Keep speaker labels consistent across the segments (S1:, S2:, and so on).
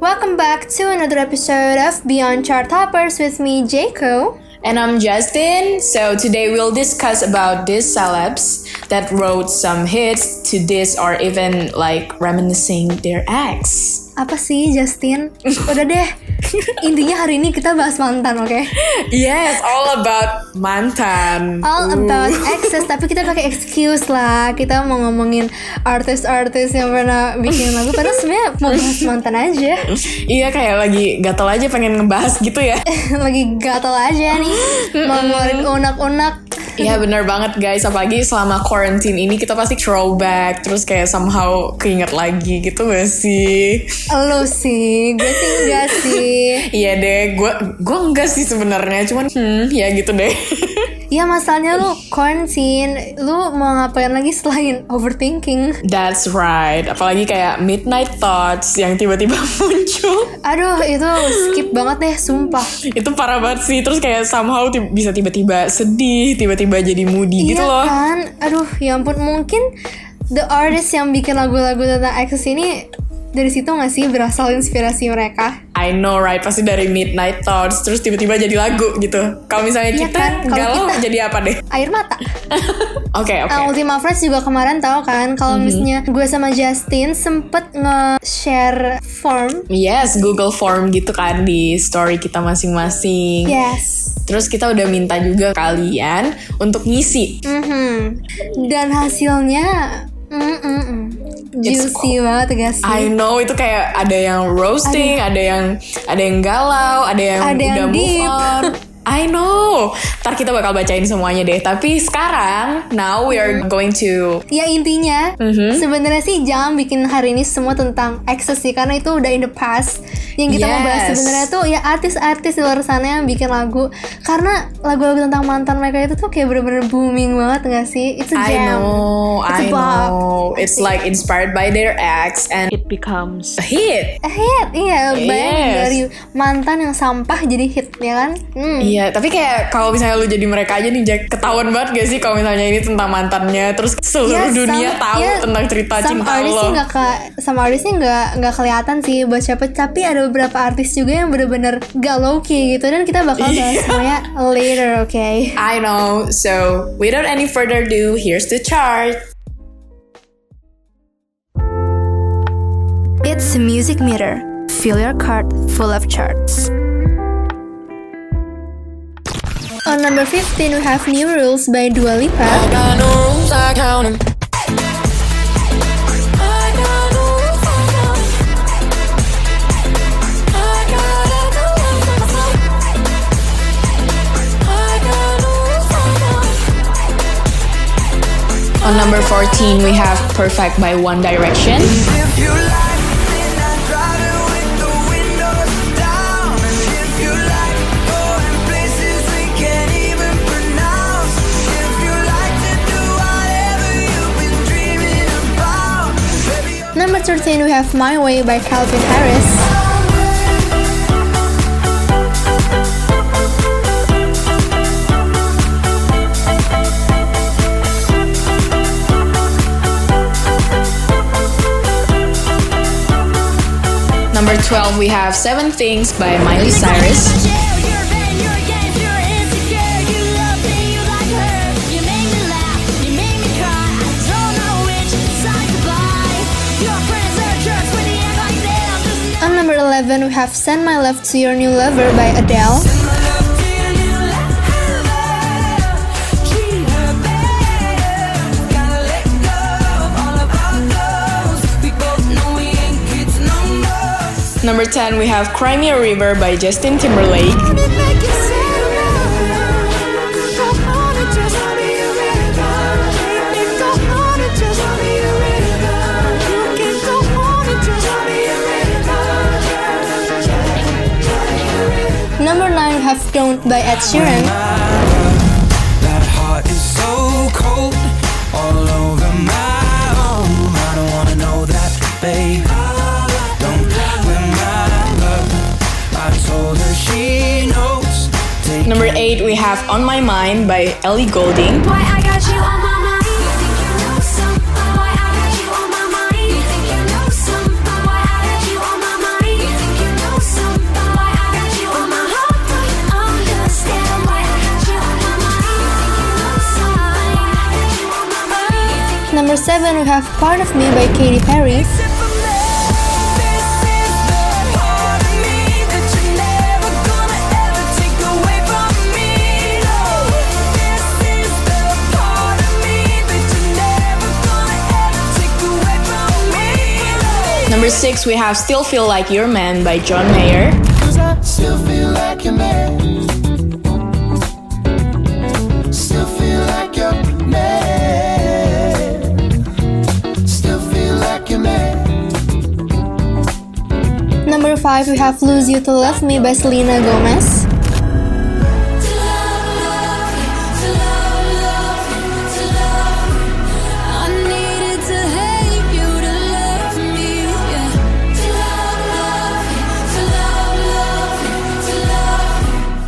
S1: Welcome back to another episode of Beyond Chart Toppers with me, Jaco.
S2: And I'm Justin. So today we'll discuss about these celebs that wrote some hits to this or even like reminiscing their ex.
S1: Apa sih, Justin? Udah deh. Intinya hari ini kita bahas mantan, oke?
S2: Yes, all about mantan.
S1: All
S2: Ooh.
S1: about exes, tapi kita pakai excuse lah. Kita mau ngomongin artis-artis yang pernah bikin lagu, padahal sebenarnya mau bahas mantan aja.
S2: Iya kayak lagi gatel aja pengen ngebahas gitu ya.
S1: Lagi gatel aja nih, mau ngeluarin unak-unak.
S2: Iya bener banget guys, apalagi selama quarantine ini kita pasti throwback terus kayak somehow keinget lagi gitu gak sih?
S1: Lo sih, gue sih enggak sih.
S2: Iya deh, gue gua enggak sih sebenarnya, cuman hmm ya gitu deh.
S1: Ya masalahnya lu quarantine, lu mau ngapain lagi selain overthinking?
S2: That's right, apalagi kayak midnight thoughts yang tiba-tiba muncul.
S1: Aduh, itu skip banget deh, sumpah.
S2: Itu parah banget sih, terus kayak somehow ti- bisa tiba-tiba sedih, tiba-tiba jadi moody gitu
S1: iya
S2: loh.
S1: kan? Aduh, ya ampun mungkin the artist yang bikin lagu-lagu tentang Axis ini dari situ nggak sih berasal inspirasi mereka?
S2: I know right, pasti dari midnight thoughts terus tiba-tiba jadi lagu gitu. Kalau misalnya
S1: Iya
S2: kita
S1: kan, kalau
S2: galau
S1: kita-
S2: jadi apa deh?
S1: Air mata.
S2: Oke, oke.
S1: Nah, Ultima Friends juga kemarin tahu kan kalau
S2: Mhm.
S1: misalnya gue sama Justin sempet nge-share form.
S2: Yes, Google Form gitu kan di story kita masing-masing.
S1: Iya. Yes.
S2: Terus kita udah minta juga kalian untuk ngisi.
S1: Mhm. Dan hasilnya mm, mm, mm.
S2: It's
S1: juicy banget gak sih?
S2: I know itu kayak ada yang roasting, ada, yang ada yang galau, ada yang
S1: Ada yang
S2: udah move
S1: deep.
S2: on. I know. Ntar kita bakal bacain semuanya deh. Tapi sekarang, now we
S1: Hmm.
S2: are going to
S1: Ya intinya
S2: Mhm.
S1: sebenarnya sih jangan bikin hari ini semua tentang ekses sih karena itu udah in the past. Yang kita mau bahas
S2: Yes.
S1: sebenarnya tuh ya artis-artis di luar sana yang bikin lagu karena lagu-lagu tentang mantan mereka itu tuh kayak bener-bener booming banget gak sih? It's a
S2: I
S1: jam.
S2: know,
S1: It's
S2: I
S1: a bop.
S2: know. It's like inspired by their ex and it becomes a hit.
S1: A hit, iya bayangin
S2: Yes.
S1: dari mantan yang sampah jadi hit ya kan? Hmm.
S2: Iya, tapi kayak kalau misalnya lu jadi mereka aja nih Jack, ketahuan banget gak sih kalau misalnya ini tentang mantannya terus
S1: Iya,
S2: seluruh dunia
S1: some-
S2: tahu
S1: iya,
S2: tentang cerita
S1: some
S2: cinta
S1: artist
S2: lo.
S1: sih nggak ke- some artist sih nggak nggak kelihatan sih buat siapa tapi ada beberapa artis juga yang bener-bener gak low key gitu dan kita bakal bahas semuanya later oke
S2: I know. So, without any further ado, here's the chart.
S1: it's a music meter fill your card full of charts On number 15 we have New Rules by Dua Lipa.
S3: I got no rules, I count 'em. I got no rules, I count 'em. I got a no life of my own. I got no rules, I count 'em.
S2: On number 14, we have Perfect by One Direction.
S4: If you like, then I drive it with the windows down. And if you like, going places we can't even pronounce. If you like to do whatever you've been dreaming about, baby,
S1: Number 13 we have My Way by Calvin Harris.
S2: Number 12, we have Seven Things by Miley
S5: I'm
S2: Cyrus.
S5: a jail, you're vain, you're against, you're insecure. You love me, you like her. You make me laugh, you make me cry. I don't know which side to buy. Your friends are jerks when they act like they are just
S1: On number 11 we have Send My Love to Your New Lover by Adele.
S4: my love to your new lover. Treat her better. Gotta let go of all of our goals. We both know we ain't kids no more.
S2: Number 10, we have Cry Me a River by Justin Timberlake.
S5: Didn't make you say no. Go on and just be a river. Go on and just be a river. You can go on and just be a river.
S1: Number 9 we have Don't by Ed Sheeran.
S4: That heart is so cold, all over my own. I don't wanna know that, babe. Don't play with my love. I told her she knows. Take
S2: Number 8, we have On My Mind by Ellie Golding.
S5: Why I got you on my mind? You think you know some? Why I got you on my mind? You think you know some? Why I got you on my mind? You think
S1: number 7 we have Part of Me by Katy Perry.
S2: Number six, we have Still Feel Like Your Man by John Mayer.
S6: Cause I still feel like your man. Still feel like your man. Still feel like your man.
S1: Number 5 we have Lose You to Love Me by Selena Gomez.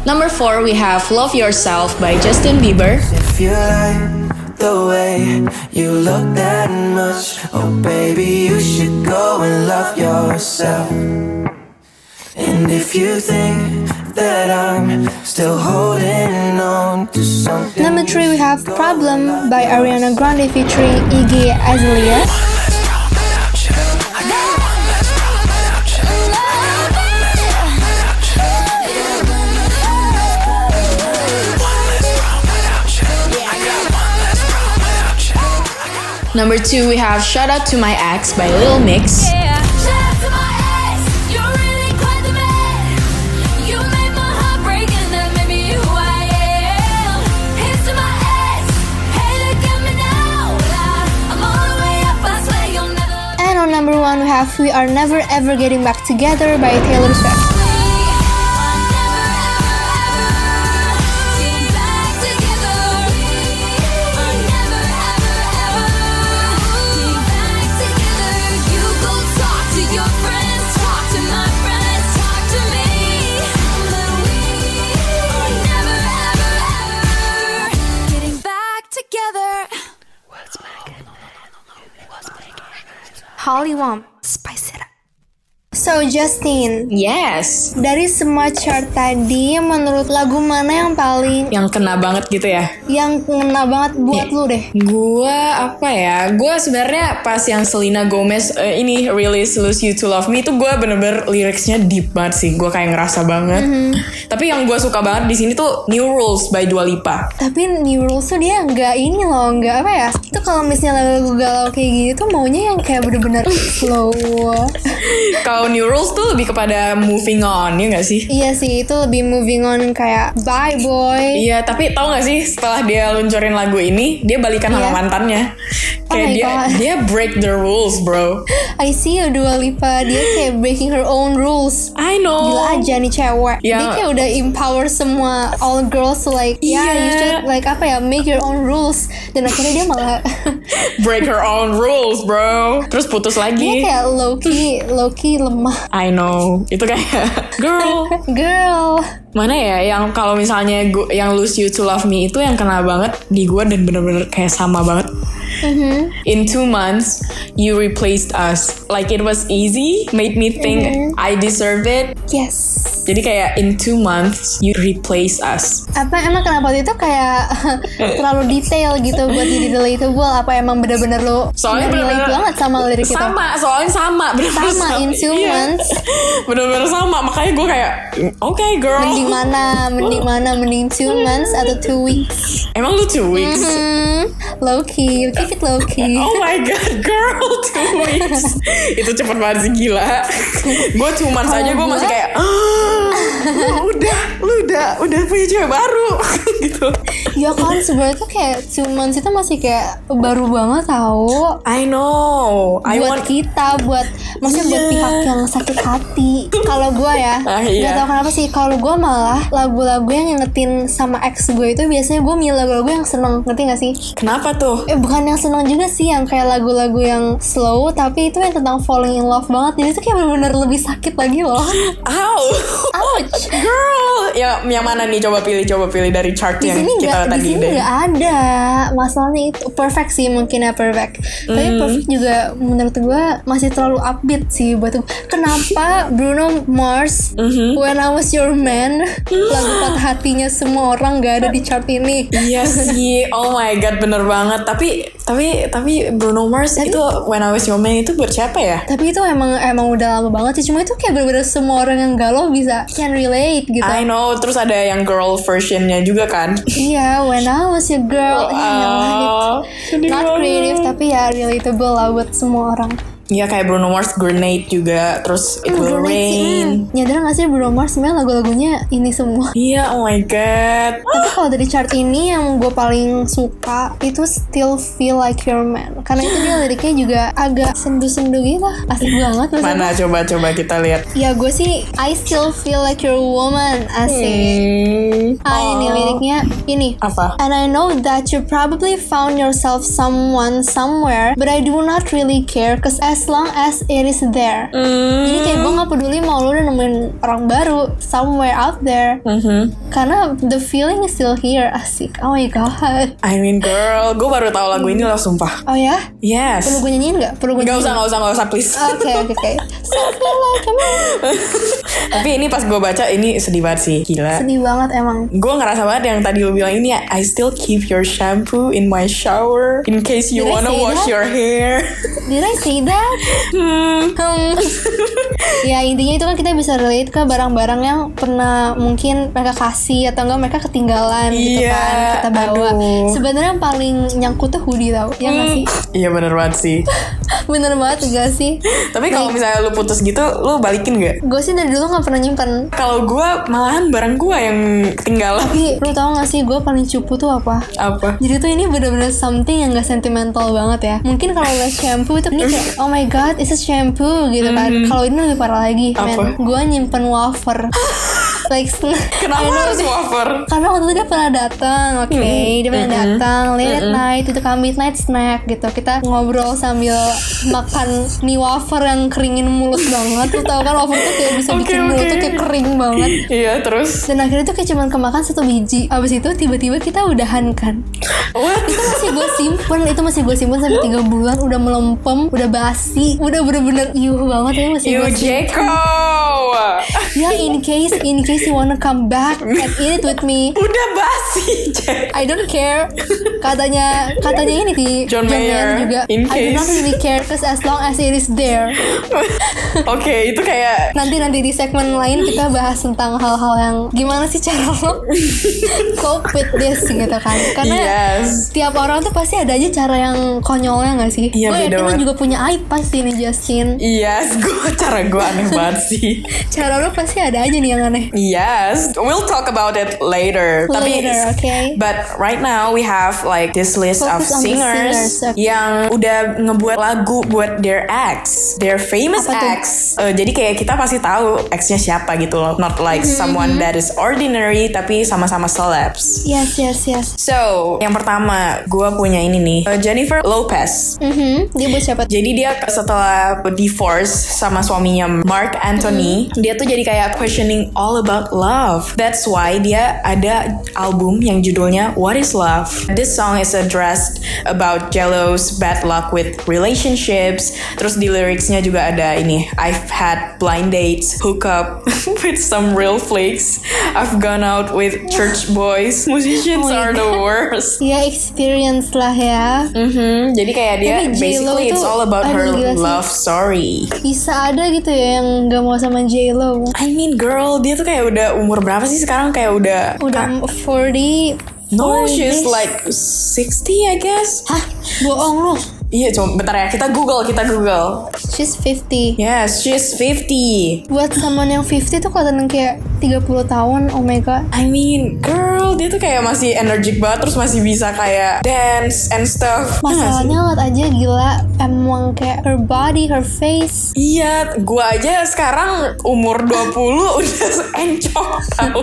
S2: Number four, we have Love Yourself by Justin Bieber.
S4: If you like the way you look that much, oh baby, you should go and love yourself. And if you think that I'm still holding on to something,
S1: Number 3 we have Problem by Ariana Grande featuring Iggy Azalea.
S2: Number two, we have Shout Out to My Ex by Lil Mix.
S1: And on number 1 we have We Are Never Ever Getting Back Together by Taylor Swift. Holly Wom, spice it up. So Justin,
S2: Yes.
S1: dari semua chart tadi menurut lagu mana yang paling
S2: Yang kena banget gitu ya.
S1: yang ngena banget buat lu deh?
S2: Gua apa ya? Gua sebenarnya pas yang Selena Gomez eh, ini rilis Lose You to Love Me itu gua bener-bener liriknya deep banget sih. Gua kayak ngerasa banget.
S1: Mm-hmm.
S2: Tapi yang gua suka banget di sini tuh New Rules by Dua Lipa.
S1: Tapi New Rules tuh dia nggak ini loh, nggak apa ya? Itu kalau misalnya lagu galau kayak gini tuh maunya yang kayak bener-bener slow.
S2: Kalau New Rules tuh lebih kepada moving on ya gak sih?
S1: iya sih, itu lebih moving on kayak bye boy.
S2: Iya, tapi tau gak sih setelah dia luncurin lagu ini, dia balikan
S1: Iya.
S2: sama mantannya.
S1: Oh
S2: Kayak
S1: my
S2: dia
S1: God.
S2: dia break the rules, bro.
S1: I see you Dua Lipa, dia kayak breaking her own rules.
S2: I know.
S1: Gila aja nih cewek. Dia
S2: Yang-
S1: kayak udah empower semua all girls to like yeah,
S2: Iya.
S1: you should like apa ya make your own rules dan akhirnya dia malah
S2: Break her own rules, bro. Terus putus
S1: dia
S2: lagi.
S1: kayak low key low key lemah
S2: I know. Itu kayak girl.
S1: girl
S2: Mana ya yang kalau misalnya gua, yang Lose You to Love Me itu yang kena banget di gua dan bener-bener kayak sama banget.
S1: Mm-hmm.
S2: In two months, you replaced us. Like it was easy, made me think
S1: Mm-hmm.
S2: I deserve it.
S1: yes
S2: Jadi kayak in two months you replace us.
S1: apa emang kenapa waktu itu kayak terlalu detail gitu buat jadi relatable apa emang bener-bener lo
S2: Soalnya
S1: relate
S2: bener-bener-
S1: banget sama lirik kita
S2: Sama, soalnya sama. Bener
S1: Sama, in two months.
S2: Bener-bener sama. Makanya gue kayak, oke girl.
S1: mending mana mending mana mending two months atau two weeks
S2: Emang lu two weeks?
S1: hmm low key you keep it low key
S2: Oh my god, girl, two weeks. Itu cepet banget sih, gila. gue two
S1: Oh
S2: months aja gue
S1: Kalau
S2: masih
S1: gua-
S2: kayak, "Ah, lu udah, lu udah, udah punya cewek baru. gitu.
S1: ya kan sebenarnya tuh kayak two months itu masih kayak baru banget tau
S2: I know. I
S1: buat
S2: want
S1: kita buat maksudnya buat
S2: Iya.
S1: pihak yang sakit hati kalau gue ya
S2: Ah,
S1: nggak
S2: iya.
S1: tahu kenapa sih kalau gue malah lagu-lagu yang ngingetin sama ex gue itu biasanya gue milih lagu-lagu yang seneng ngerti gak sih
S2: Kenapa tuh?
S1: eh bukan yang seneng juga sih yang kayak lagu-lagu yang slow tapi itu yang tentang falling in love banget jadi itu kayak bener-bener lebih sakit lagi loh
S2: Ow.
S1: ouch
S2: Girl, ya yang mana nih coba pilih coba pilih dari chart
S1: di
S2: yang
S1: sini nggak
S2: kita
S1: di
S2: Iya, tadi
S1: sini
S2: deh.
S1: nggak ada masalahnya itu perfect sih mungkin ya perfect tapi perfect juga menurut gue masih terlalu upbeat sih buat gua. kenapa Bruno Mars When I Was Your Man lagu patah hatinya semua orang nggak ada di chart ini
S2: Iya sih, oh my god bener banget Tapi Tapi tapi Bruno Mars
S1: Tapi-
S2: itu When I Was Your Man itu buat siapa ya?
S1: Tapi itu emang emang udah lama banget sih. Cuma itu kayak bener-bener semua orang yang galau bisa can relate gitu.
S2: I know. Terus ada yang girl versionnya juga kan?
S1: Iya, when I was a girl. Ya Allah,
S2: Oh,
S1: gitu.
S2: sedih
S1: Not
S2: banget.
S1: creative tapi ya relatable lah buat semua orang.
S2: Iya kayak Bruno Mars Grenade juga. Terus It Will
S1: Relate sih,
S2: Rain.
S1: hmm. Nyadar gak sih Bruno Mars sebenarnya lagu-lagunya ini semua.
S2: Iya, oh my god.
S1: Tapi kalau dari chart ini yang gue paling suka itu Still Feel Like Your Man. Karena itu dia liriknya juga agak sendu-sendu gitu. Asik banget maksudnya.
S2: Mana coba coba kita lihat.
S1: Ya gue sih I still feel like your woman Asik
S2: Hmm.
S1: Ah ini liriknya ini
S2: Apa?
S1: And I know that you probably found yourself someone somewhere But I do not really care Cause as long as it is there Jadi kayak gue gak peduli mau lu udah nemuin orang baru Somewhere out there Karena the feeling is still here Asik Oh my god
S2: I mean girl, gue baru tahu lagu ini loh sumpah.
S1: Oh ya?
S2: Yes.
S1: Perlu gue nyanyiin gak? Perlu gue
S2: Gak
S1: nyanyiin
S2: usah, gak usah, gak usah, please.
S1: Oke oke oke So feel like your man.
S2: Tapi ini pas gue baca ini sedih banget sih, gila.
S1: Sedih banget emang
S2: Gue ngerasa banget yang tadi lu bilang ini ya, I still keep your shampoo in my shower in case you
S1: Did I
S2: wanna
S1: say
S2: wash
S1: that?
S2: your hair.
S1: Did I say that? Hmm. ya intinya itu kan kita bisa relate ke barang-barang yang pernah mungkin mereka kasih atau enggak mereka ketinggalan gitu
S2: Iya,
S1: kan kita bawa.
S2: aduh.
S1: Sebenarnya yang paling nyangkut tuh hoodie tau, ya nggak sih?
S2: Iya bener banget sih. Hmm.
S1: Bener banget gak sih?
S2: Tapi kalau misalnya lu putus gitu, lu balikin gak?
S1: Gue sih dari dulu nggak pernah nyimpen.
S2: Kalau gue malahan barang gue yang ketinggalan
S1: Tapi lu tau gak sih gue paling cupu tuh apa?
S2: apa?
S1: Jadi tuh ini bener-bener something yang gak sentimental banget ya Mungkin kalau lihat shampoo itu ini kayak Oh my god, it's a shampoo gitu kan Kalau ini lebih parah lagi
S2: Mm-hmm. Apa?
S1: Men, gue nyimpen wafer Like I
S2: Kenapa
S1: know
S2: harus
S1: that-
S2: wafer?
S1: karena waktu itu dia pernah datang, oke,
S2: Mm-hmm.
S1: dia pernah datang late at night itu kami midnight snack gitu. Kita ngobrol sambil makan mie wafer yang keringin mulus banget. Tuh tau kan wafer tuh kayak bisa
S2: Oke,
S1: bikin mulut tuh
S2: oke.
S1: kayak kering banget.
S2: Iya terus
S1: Dan akhirnya tuh kayak cuman kemakan satu biji. Abis itu tiba-tiba kita udahan kan.
S2: What?
S1: Itu masih gue simpen, itu masih gue simpen sampai tiga bulan. Udah melempem, udah basi, udah bener-bener iuh banget ya masih
S2: You
S1: gue
S2: Jeko
S1: Ya in case, in case you wanna come back and eat it with me.
S2: Udah basi Jack
S1: I don't care katanya katanya ini di
S2: John Mayer,
S1: juga
S2: in
S1: I do not
S2: case.
S1: really care cause as long as it is there
S2: Oke itu kayak
S1: nanti nanti di segmen lain kita bahas tentang hal-hal yang gimana sih cara lo cope with this gitu kan karena
S2: Iya. Yes
S1: tiap orang tuh pasti ada aja cara yang konyolnya gak sih
S2: Iya,
S1: gue
S2: beda
S1: yakin lo
S2: banget. Iya.
S1: juga punya aib pasti nih Justin
S2: Yes gua, Cara gue aneh banget sih
S1: cara lo pasti ada aja nih yang aneh
S2: Yes We'll talk about it later Tapi
S1: Later, okay.
S2: But right now we have like this list
S1: Focus on
S2: of
S1: the
S2: singers,
S1: singers, okay.
S2: Yang udah ngebuat lagu buat their ex Their famous
S1: Apa tuh?
S2: ex Eh, Jadi kayak kita pasti tahu ex-nya siapa gitu loh Not like
S1: Mm-hmm,
S2: someone that is ordinary Tapi sama-sama celebs
S1: yes yes yes
S2: So, yang pertama, gue punya ini nih, uh, Jennifer Lopez.
S1: Mhm, dia buat siapa tuh?
S2: Jadi dia setelah divorce sama suaminya Mark Anthony, dia tuh jadi kayak questioning all about love. That's why dia ada album yang judulnya What Is Love. This song is addressed about jealous, bad luck with relationships. Terus di lyricsnya juga ada ini, I've had blind dates, hookup with some real flakes. I've gone out with church boys. Musicians
S1: Oh my
S2: are the worst.
S1: ya experience lah ya
S2: Mhm, jadi kayak dia
S1: Tapi J.Lo
S2: basically it's
S1: tuh-
S2: all about her
S1: aduh, gila sih.
S2: love story.
S1: bisa ada gitu ya yang gak mau sama J Lo
S2: I mean girl, dia tuh kayak udah umur berapa sih sekarang kayak udah
S1: udah oh, 40
S2: No,
S1: 40
S2: she's
S1: -ish.
S2: like 60 I guess.
S1: Hah? Bohong lu
S2: Iya, cuma bentar ya, kita Google, kita Google.
S1: She's 50
S2: Yes, she's
S1: Iya.
S2: 50.
S1: Buat someone yang 50 tuh kelihatan kayak 30 tahun Oh my god
S2: I mean, girl, dia tuh kayak masih energik banget terus masih bisa kayak dance and stuff. Ya nggak sih?
S1: Masalahnya liat aja gila Emang kayak her body, her face
S2: Iya, gua aja sekarang umur 20 udah encok tau.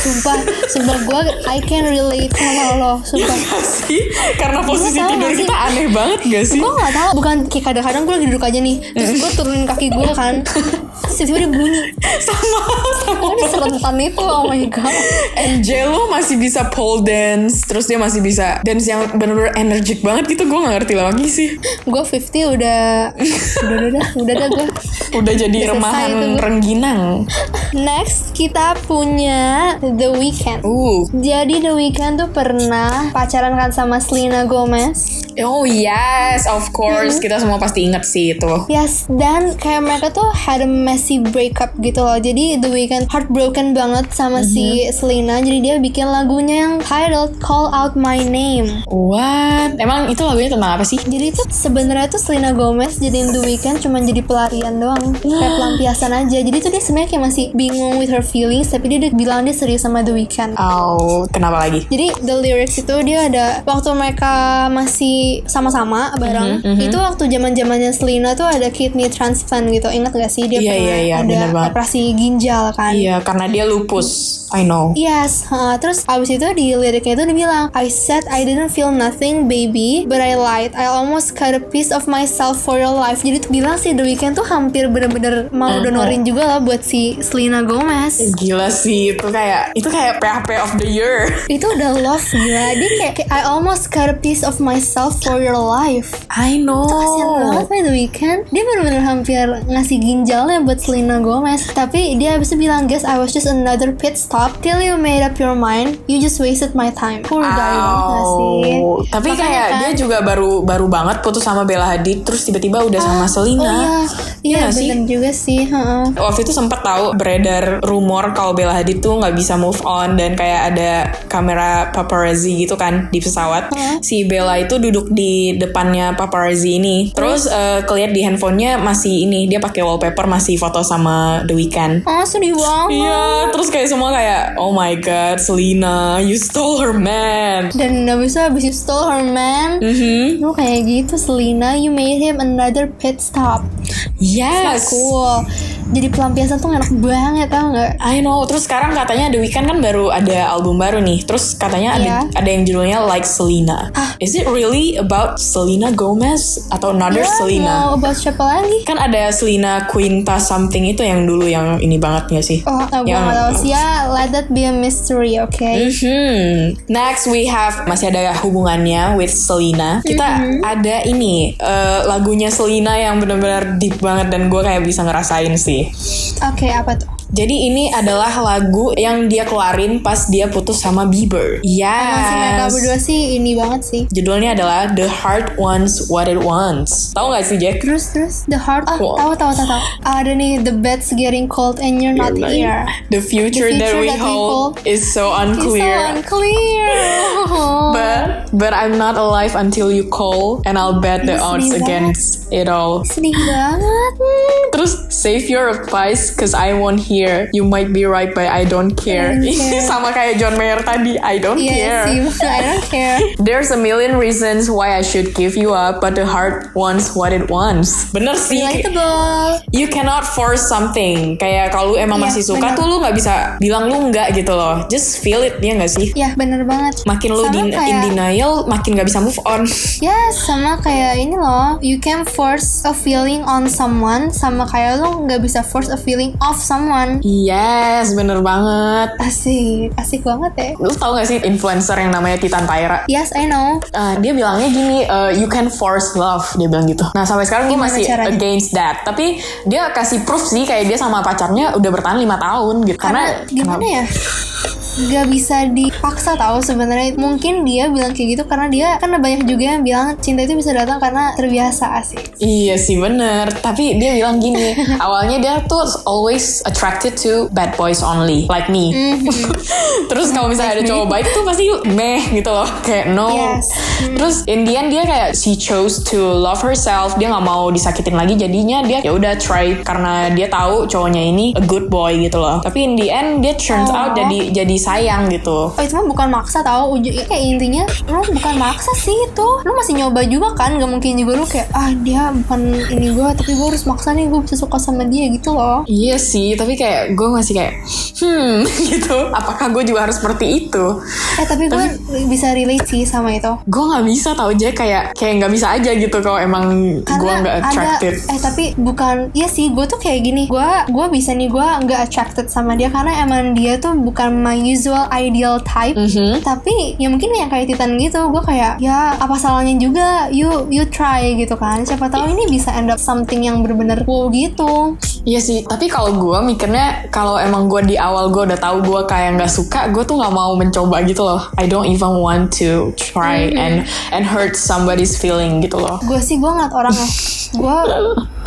S1: Sumpah Sumpah gue I can relate sama lo Sumpah
S2: Iya sih karena posisi
S1: tau
S2: tidur
S1: gak sih?
S2: kita aneh banget gak sih
S1: Gue gak tau Bukan kayak kadang-kadang gue lagi duduk aja nih Terus gue turunin kaki gue kan Terus tiba-tiba dia bunyi
S2: sama sama
S1: Kok dia serentan itu oh my god
S2: And Jello masih bisa pole dance Terus dia masih bisa dance yang bener-bener energik banget gitu Gue gak ngerti lagi sih
S1: gue 50 udah udah udah udah, udah dah gue
S2: Udah jadi
S1: Udah selesai
S2: remahan
S1: itu, Bu.
S2: rengginang
S1: next kita punya The Weeknd
S2: Uh
S1: jadi The Weeknd tuh pernah pacaran kan sama Selena Gomez
S2: Oh yes of course Kita semua pasti inget sih itu
S1: Yes, dan kayak mereka tuh had a messy breakup gitu loh. Jadi The Weeknd heartbroken banget sama si Selena. Jadi dia bikin lagunya yang titled Call Out My Name.
S2: What? Emang itu lagunya tentang apa sih?
S1: Jadi tuh sebenarnya tuh Selena Gomez jadiin The Weeknd cuma jadi pelarian doang, kayak pelampiasan aja. Jadi tuh dia sebenarnya kayak masih bingung with her feelings, tapi dia udah bilang dia serius sama The Weeknd.
S2: Oh kenapa lagi?
S1: Jadi the lyrics itu dia ada waktu mereka masih sama-sama bareng.
S2: Mhm,
S1: Itu waktu zaman-zamannya Selena tuh ada kidney transplant gitu. Ingat gak sih dia
S2: Iya,
S1: pernah
S2: iya, iya, bener
S1: ada
S2: banget.
S1: operasi ginjal kan?
S2: Iya karena dia lupus I know
S1: Yes, ha, terus abis itu di liriknya itu dia bilang I said I didn't feel nothing baby But I lied, I almost cut a piece of myself for your life Jadi tuh bilang sih The Weeknd tuh hampir bener-bener mau donorin juga lah buat si Selena Gomez
S2: Gila sih itu kayak Itu kayak PHP of the year
S1: Itu udah love gila, dia kayak, kayak, I almost cut a piece of myself for your life
S2: I know
S1: Itu kasihan banget by The Weeknd Dia bener-bener hampir ngasih ginjalnya buat Selena Gomez Tapi dia abis itu bilang Guess I was just another pit stop Till you made up your mind You just wasted my time Poor guy banget gak sih
S2: Au. Tapi
S1: Makanya
S2: kayak
S1: kan-
S2: dia juga baru baru banget putus sama Bella Hadid terus tiba-tiba udah sama Selena.
S1: Oh
S2: Iya
S1: iya, iya
S2: nggak sih?
S1: bener juga sih heeh.
S2: Waktu itu sempat tahu beredar rumor kalau Bella Hadid tuh nggak bisa move on dan kayak ada kamera paparazzi gitu kan di pesawat.
S1: Iya.
S2: Si Bella itu duduk di depannya paparazzi ini. Terus eh, keliat di handphonenya masih ini dia pakai wallpaper masih foto sama The Weeknd.
S1: Oh sedih banget
S2: Iya,
S1: Oh.
S2: terus kayak semua kayak oh my god, Selena, you stole her man.
S1: Dan abis itu abis you stole her man
S2: Mm-hmm.
S1: Lu kayak gitu Selena You made him another pit stop
S2: Yes.
S1: Cool Jadi pelampiasan tuh enak banget tau gak
S2: I know. Terus sekarang katanya The Weeknd kan baru ada album baru nih. Terus katanya ada
S1: Iya.
S2: ada yang judulnya Like Selena.
S1: Ah.
S2: Is it really about Selena Gomez atau another
S1: Ya,
S2: Selena?
S1: Mau about siapa lagi
S2: Kan ada Selena Quinta something itu yang dulu yang ini banget nggak sih?
S1: Oh, gue
S2: Yang-
S1: gak tau sih ya, let that be a mystery, oke?
S2: Mhm. Next we have masih ada hubungannya with Selena. Kita
S1: Mm-hmm.
S2: ada ini eh, lagunya Selena yang benar-benar deep banget dan gue kayak bisa ngerasain sih.
S1: Oke, apa tuh?
S2: Jadi ini adalah lagu yang dia keluarin pas dia putus sama Bieber.
S1: Emang sih mereka
S2: Yes.
S1: berdua sih ini banget sih.
S2: Judulnya adalah The Heart Wants What It Wants. Tahu nggak sih Jack?
S1: Terus terus the heart oh
S2: Wow.
S1: tahu tahu tahu tahu. Ada nih the bed's getting cold and you're not here.
S2: The future,
S1: The
S2: that
S1: future
S2: we
S1: that we
S2: hold
S1: hold
S2: is so
S1: It's so
S2: unclear.
S1: unclear.
S2: But but I'm not alive until you call, and I'll bet the
S1: Sedih
S2: odds
S1: banget.
S2: against it all.
S1: Sedih banget.
S2: Terus save your advice cause I won't hear. You might be right but I don't care.
S1: Don't care.
S2: Sama kayak John Mayer tadi, I don't
S1: Iya
S2: care.
S1: sih, I don't care.
S2: There's a million reasons why I should give you up, but the heart wants what it wants. Bener sih.
S1: Relatable.
S2: You cannot force something. Kayak kalau lu emang
S1: Iya,
S2: masih suka
S1: bener.
S2: tuh lu nggak bisa bilang lu nggak gitu loh. Just feel it ya nggak sih?
S1: Ya bener banget.
S2: Makin lu
S1: Sama
S2: di- in
S1: kayak-
S2: denial, makin nggak bisa move on.
S1: Ya sama kayak ini loh You can force a feeling on someone Sama kayak lo nggak bisa force a feeling off someone
S2: Yes, bener banget.
S1: Asik, asik banget ya
S2: Lu tau gak sih influencer yang namanya Titan Taira?
S1: Yes, I know
S2: Uh, dia bilangnya gini, uh, you can force love, dia bilang gitu. Nah sampai sekarang gue
S1: Gimana
S2: masih
S1: caranya?
S2: against that. Tapi dia kasih proof sih kayak dia sama pacarnya udah bertahan lima tahun gitu.
S1: karena gimana ya nggak bisa dipaksa tahu sebenarnya mungkin dia bilang kayak gitu karena dia karena banyak juga yang bilang cinta itu bisa datang karena terbiasa asik
S2: Iya sih bener. Tapi dia bilang gini, awalnya dia tuh always attracted to bad boys only, like me. Terus kalau misalnya ada cowok baik tuh pasti meh gitu loh, kayak no.
S1: Yes.
S2: Terus in the end dia kayak she chose to love herself. Dia nggak mau disakitin lagi, jadinya dia ya udah try karena dia tahu cowoknya ini a good boy gitu loh. Tapi in the end dia turns out
S1: Oh.
S2: jadi jadi sayang gitu.
S1: Oh itu mah bukan maksa tau ujungnya kayak intinya lu bukan maksa sih itu lu masih nyoba juga kan gak mungkin juga lu kayak ah dia bukan ini gue tapi gue harus maksa nih gue bisa suka sama dia gitu loh
S2: Iya sih, tapi kayak gue masih kayak hmm gitu. Apakah gue juga harus seperti itu?
S1: eh tapi gue bisa relate sih sama itu
S2: Gue nggak bisa tau aja kayak kayak nggak bisa aja gitu kalau emang gue nggak attracted.
S1: ada eh tapi bukan iya sih gue tuh kayak gini gue gue bisa nih gue nggak attracted sama dia karena emang dia tuh bukan my usual ideal type
S2: Mhm.
S1: tapi ya mungkin yang kayak Titan gitu gue kayak ya apa salahnya juga you you try gitu kan siapa tahu ini bisa end up something yang bener-bener wow gitu
S2: Iya sih, tapi kalau gue mikirnya kalau emang gue di awal gue udah tahu gue kayak nggak suka, gue tuh nggak mau mencoba gitu loh. I don't even want to try and and hurt somebody's feeling gitu loh.
S1: gue sih gue ngeliat orangnya gue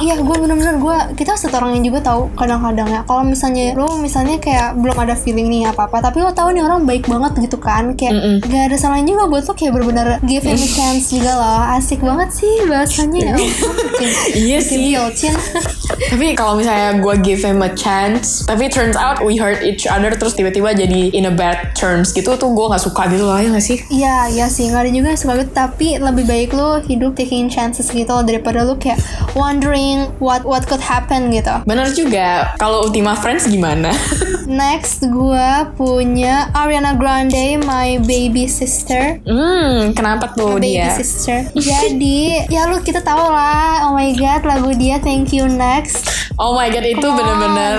S1: iya gue bener-bener gue kita satu orang yang juga tahu kadang-kadang ya kalau misalnya lo misalnya kayak belum ada feeling nih apa apa tapi lo tahu nih orang baik banget gitu kan kayak gak ada salahnya juga buat lo kayak bener-bener give him a chance juga loh asik banget sih bahasanya ya ampun, bikin,
S2: Iya
S1: bikin
S2: sih.
S1: feel, Cin.
S2: tapi kalau misalnya gue give him a chance, tapi turns out we hurt each other terus tiba-tiba jadi in a bad terms gitu tuh gue nggak suka gitu loh ya nggak sih?
S1: Iya, iya sih. Gak ada juga yang suka gitu. Tapi lebih baik lo hidup taking chances gitu loh, daripada lo kayak wondering what what could happen gitu.
S2: Bener juga. Kalau Ultima Friends gimana?
S1: Next, gue punya Ariana Grande, My Baby Sister.
S2: hmm, kenapa tuh
S1: Baby
S2: dia?
S1: Sister. Jadi, ya lu kita tahu lah. Oh my god, lagu dia Thank You Next.
S2: Oh my god itu
S1: Come on.
S2: bener-bener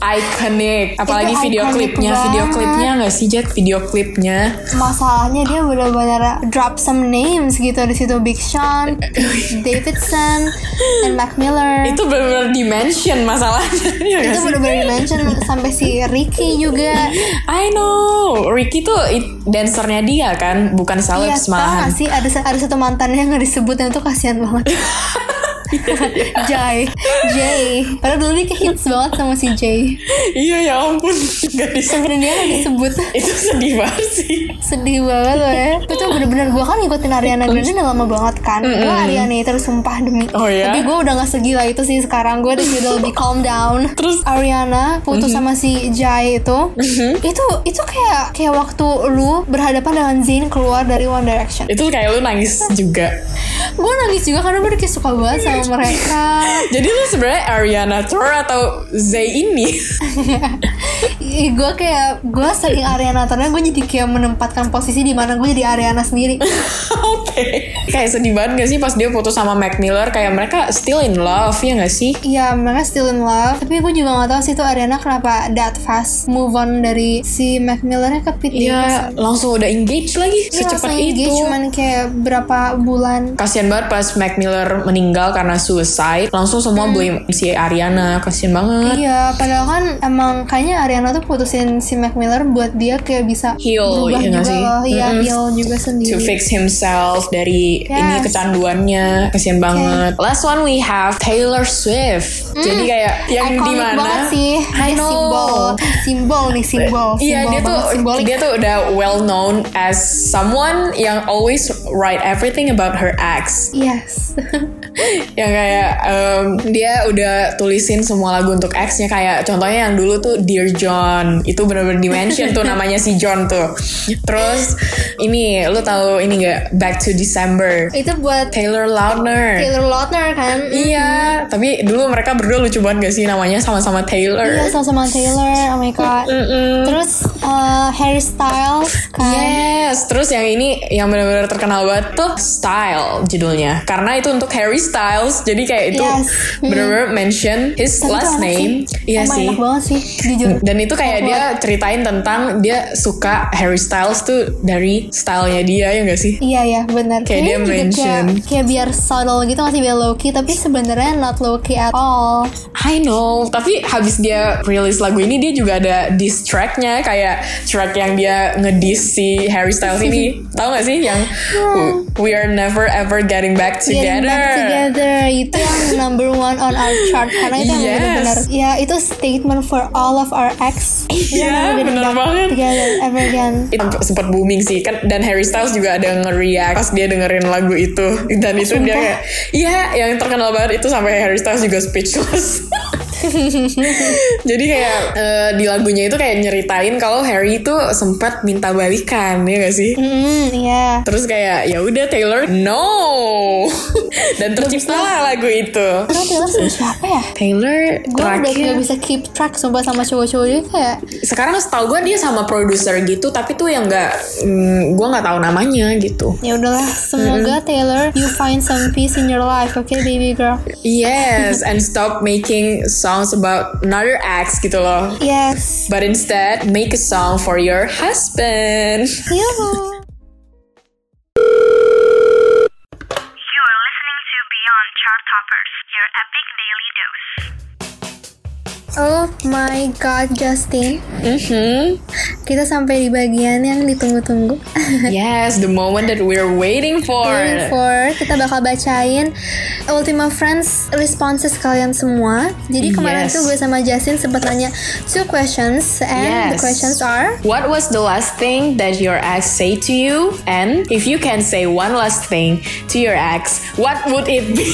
S2: iconic. Apalagi
S1: Itu
S2: video
S1: iconic
S2: klipnya,
S1: banget.
S2: video klipnya nggak sih Jet? Video klipnya.
S1: Masalahnya dia benar-benar drop some names gitu di situ Big Sean, Davidson, and Mac Miller.
S2: Itu bener-bener dimension masalahnya. ya nggak
S1: itu
S2: sih? Iya.
S1: benar-benar mention sampai si Ricky juga.
S2: I know. Ricky tuh i- dancernya dia kan, bukan
S1: Iya,
S2: celebs
S1: tau gak
S2: malahan.
S1: sih ada ada satu mantannya yang gak disebut yang itu kasihan banget. Jai, Jay. Padahal dulu dia hits banget sama si Jay.
S2: Iya ya ampun, nggak disebut.
S1: Dan dia gak disebut.
S2: Itu sedih banget sih.
S1: Sedih banget loh ya Itu tuh bener-bener gue kan ngikutin Ariana Grande udah lama banget kan Gue Ariana itu sumpah demi
S2: Oh, iya?
S1: Tapi gue udah gak segila itu sih sekarang Gue udah jadi lebih calm down
S2: Terus? Mm-hmm.
S1: Ariana putus sama si Jai itu Itu itu kayak kayak waktu lu berhadapan dengan Zayn keluar dari One Direction
S2: Itu kayak lu nangis juga.
S1: Gue nangis juga karena gue udah kayak suka banget
S2: Iya,
S1: sama mereka
S2: Jadi lu sebenarnya Ariana Tour atau Zay ini?
S1: Gue kayak gue saking Ariana Turner gue jadi kayak menempatkan posisi di mana gue jadi Ariana sendiri
S2: Oke. Kayak sedih banget gak sih pas dia putus sama Mac Miller? Kayak mereka still in love, ya gak sih?
S1: Iya, mereka still in love. Tapi gue juga gak tahu sih itu Ariana kenapa that fast move on dari si Mac Millernya ke PT.
S2: Iya, langsung udah engage lagi secepat itu.
S1: Iya, cuman kayak berapa bulan.
S2: Kasian banget pas Mac Miller meninggal karena suicide. Langsung semua
S1: Hmm.
S2: blame si Ariana. Kasian banget.
S1: Iya, padahal kan emang kayaknya Ariana tuh putusin si Mac Miller buat dia kayak bisa
S2: Heal,
S1: berubah
S2: iya
S1: juga
S2: gak sih?
S1: loh. Iya,
S2: Mm-mm.
S1: heal juga sendiri.
S2: To fix himself dari
S1: Iya. Yes.
S2: ini kecanduannya. Kasian banget. Last one we have Taylor Swift. Jadi kayak
S1: Hmm.
S2: yang
S1: Iconic
S2: di
S1: banget
S2: mana?
S1: sih.
S2: I
S1: Dia
S2: know.
S1: Simbol, simbol nih, simbol.
S2: Iya
S1: Simbol
S2: dia tuh
S1: banget, simbolik.
S2: dia tuh udah well known as someone yang always write everything about her ex.
S1: Yes.
S2: Yang kayak em, dia udah tulisin semua lagu untuk exnya kayak contohnya yang dulu tuh Dear John itu bener-bener dimension tuh namanya si John tuh. Terus ini lu tahu ini gak Back to December
S1: itu buat
S2: Taylor Lautner.
S1: Taylor Lautner kan.
S2: Iya, tapi dulu mereka berdua lucu banget gak sih namanya sama-sama Taylor.
S1: Iya, sama-sama Taylor. Oh my god.
S2: Mm-mm.
S1: Terus eh, Harry Styles kan.
S2: Yes, terus yang ini yang benar-benar terkenal banget tuh Style judulnya. Karena itu untuk Harry Styles, jadi kayak itu
S1: Yes. Hmm.
S2: benar-benar mention his
S1: Tapi
S2: last
S1: tuh enak
S2: name.
S1: sih.
S2: Iya
S1: Emang
S2: sih.
S1: enak banget sih, jujur.
S2: Dan itu kayak dia ceritain tentang dia suka Harry Styles tuh dari stylenya dia ya gak sih?
S1: Iya ya, benar.
S2: Kayak dia
S1: Kayaknya juga
S2: mention.
S1: Kayak, kayak biar subtle gitu masih biar low key, tapi sebenarnya not low key at all.
S2: I know, tapi habis dia rilis lagu ini dia juga ada diss tracknya kayak track yang dia ngediss si Harry Styles ini, tahu gak sih yang We Are Never Ever Getting Back
S1: Hmm. Getting
S2: Together.
S1: back together itu yang number one on our chart karena itu yang
S2: Yes.
S1: benar-benar ya itu statement for all of our ex.
S2: Iya, benar
S1: benar
S2: banget. Iya.
S1: Together ever again.
S2: itu sempat booming sih kan dan Harry Styles juga ada nge-react pas dia dengerin lagu itu dan itu
S1: sumpah.
S2: dia kayak iya yang terkenal banget itu sampai Harry Styles juga speechless Jadi kayak eh, di lagunya itu kayak nyeritain kalau Harry itu sempat minta balikan ya gak sih?
S1: Hmm, iya.
S2: Terus kayak ya udah Taylor no dan terciptalah lagu itu.
S1: Karena Taylor sama siapa ya?
S2: Taylor
S1: Gue udah gak
S2: terakhir
S1: bisa keep track sumpah sama cowok-cowok dia kayak
S2: sekarang setahu gue dia sama produser gitu tapi tuh yang nggak mm, gue nggak tahu namanya gitu.
S1: ya udahlah semoga
S2: Mm-hmm.
S1: Taylor you find some peace in your life okay baby girl
S2: Yes and stop making songs about another ex gitu loh.
S1: yes
S2: But instead make a song for your husband.
S1: Iya. Yuhu.
S7: You are listening to Beyond Chart Toppers, your epic daily dose.
S1: oh my god Justin
S2: Mhm.
S1: kita sampai di bagian yang ditunggu-tunggu
S2: Yes, the moment that we're waiting for.
S1: Going for kita bakal bacain Ultima Friends responses kalian semua. Jadi kemarin
S2: Yes.
S1: tuh gue sama Justin sempat nanya two questions and the
S2: Yes.
S1: questions are
S2: What was the last thing that your ex say to you? And if you can say one last thing to your ex, what would it be?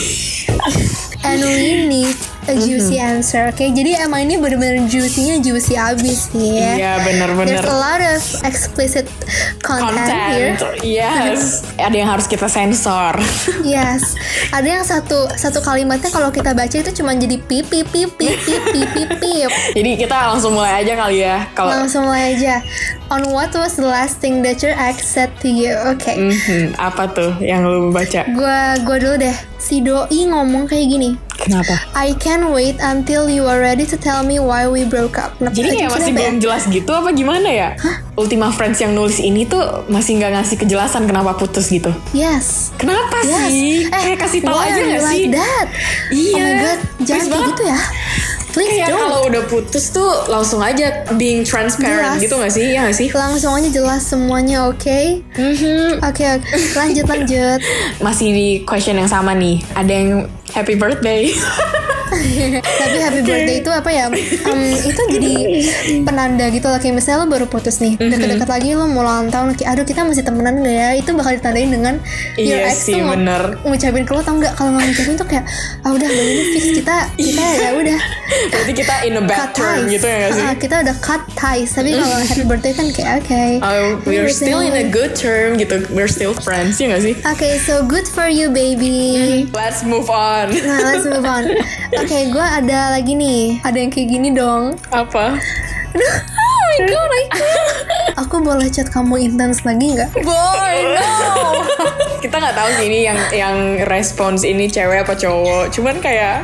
S1: and we need a juicy answer. Oke, jadi emang ini bener-bener juicy-nya juicy abis sih ya.
S2: Iya, bener-bener.
S1: There's a lot of explicit content, here.
S2: Content. Yes. Ada yang harus kita sensor.
S1: Yes. Ada yang satu satu kalimatnya kalau kita baca itu cuma jadi pipi pipi pipi pipi.
S2: Jadi kita langsung mulai aja kali ya. Kalau
S1: Langsung mulai aja. On what was the last thing that your ex said to you? Oke.
S2: Mhm, apa tuh yang lu baca?
S1: Gua gua dulu deh. Si doi ngomong kayak gini.
S2: Kenapa?
S1: I can wait until you are ready to tell me why we broke up. Nah,
S2: Jadi
S1: itu
S2: kayak masih
S1: kenapa ya?
S2: belum jelas gitu apa gimana ya? Ultima Friends yang nulis ini tuh masih nggak ngasih kejelasan kenapa putus gitu.
S1: Yes.
S2: Kenapa
S1: Yes.
S2: sih? kayak kasih tahu
S1: Eh, why
S2: aja
S1: are you
S2: gak sih?
S1: like that? Oh
S2: Iya.
S1: my god, jangan
S2: Please
S1: kayak
S2: banget.
S1: gitu ya. Please
S2: Kayak
S1: don't.
S2: kalau udah putus tuh langsung aja being
S1: Jelas.
S2: transparent gitu gak sih? Ya gak sih?
S1: Langsung aja jelas semuanya, oke?
S2: Mhm.
S1: Oke, oke. lanjut lanjut.
S2: Masih di question yang sama nih. Ada yang happy birthday.
S1: Tapi happy birthday itu apa ya? em, itu jadi penanda gitu loh. Kayak misalnya lo baru putus nih,
S2: Mhm.
S1: deket-deket lagi lo mau ulang tahun, kayak aduh kita masih temenan gak ya? Itu bakal ditandain dengan your
S2: Iya
S1: ex
S2: sih,
S1: tuh mau
S2: bener.
S1: ngucapin ke lo tau nggak? Kalau nggak ngucapin tuh kayak ah udah udah ini fix kita kita ya udah
S2: Berarti kita in a bad
S1: cut
S2: Iya. term
S1: ties.
S2: gitu ya gak sih? Mhm.
S1: Ah, kita udah cut ties. Tapi kalau happy birthday kan kayak oke.
S2: Oh, we're
S1: Happy
S2: still in
S1: birthday.
S2: a good term gitu. We're still friends ya gak sih?
S1: Okay, so good for you, baby.
S2: Let's move on.
S1: Nah, let's move on. Oke, gue ada lagi nih. Ada yang kayak gini dong.
S2: Apa?
S1: Aduh, oh my god, I can't. Aku boleh chat kamu intens lagi nggak?
S2: Boy, no. Kita nggak tahu sih ini yang yang respons ini cewek apa cowok. Cuman kayak,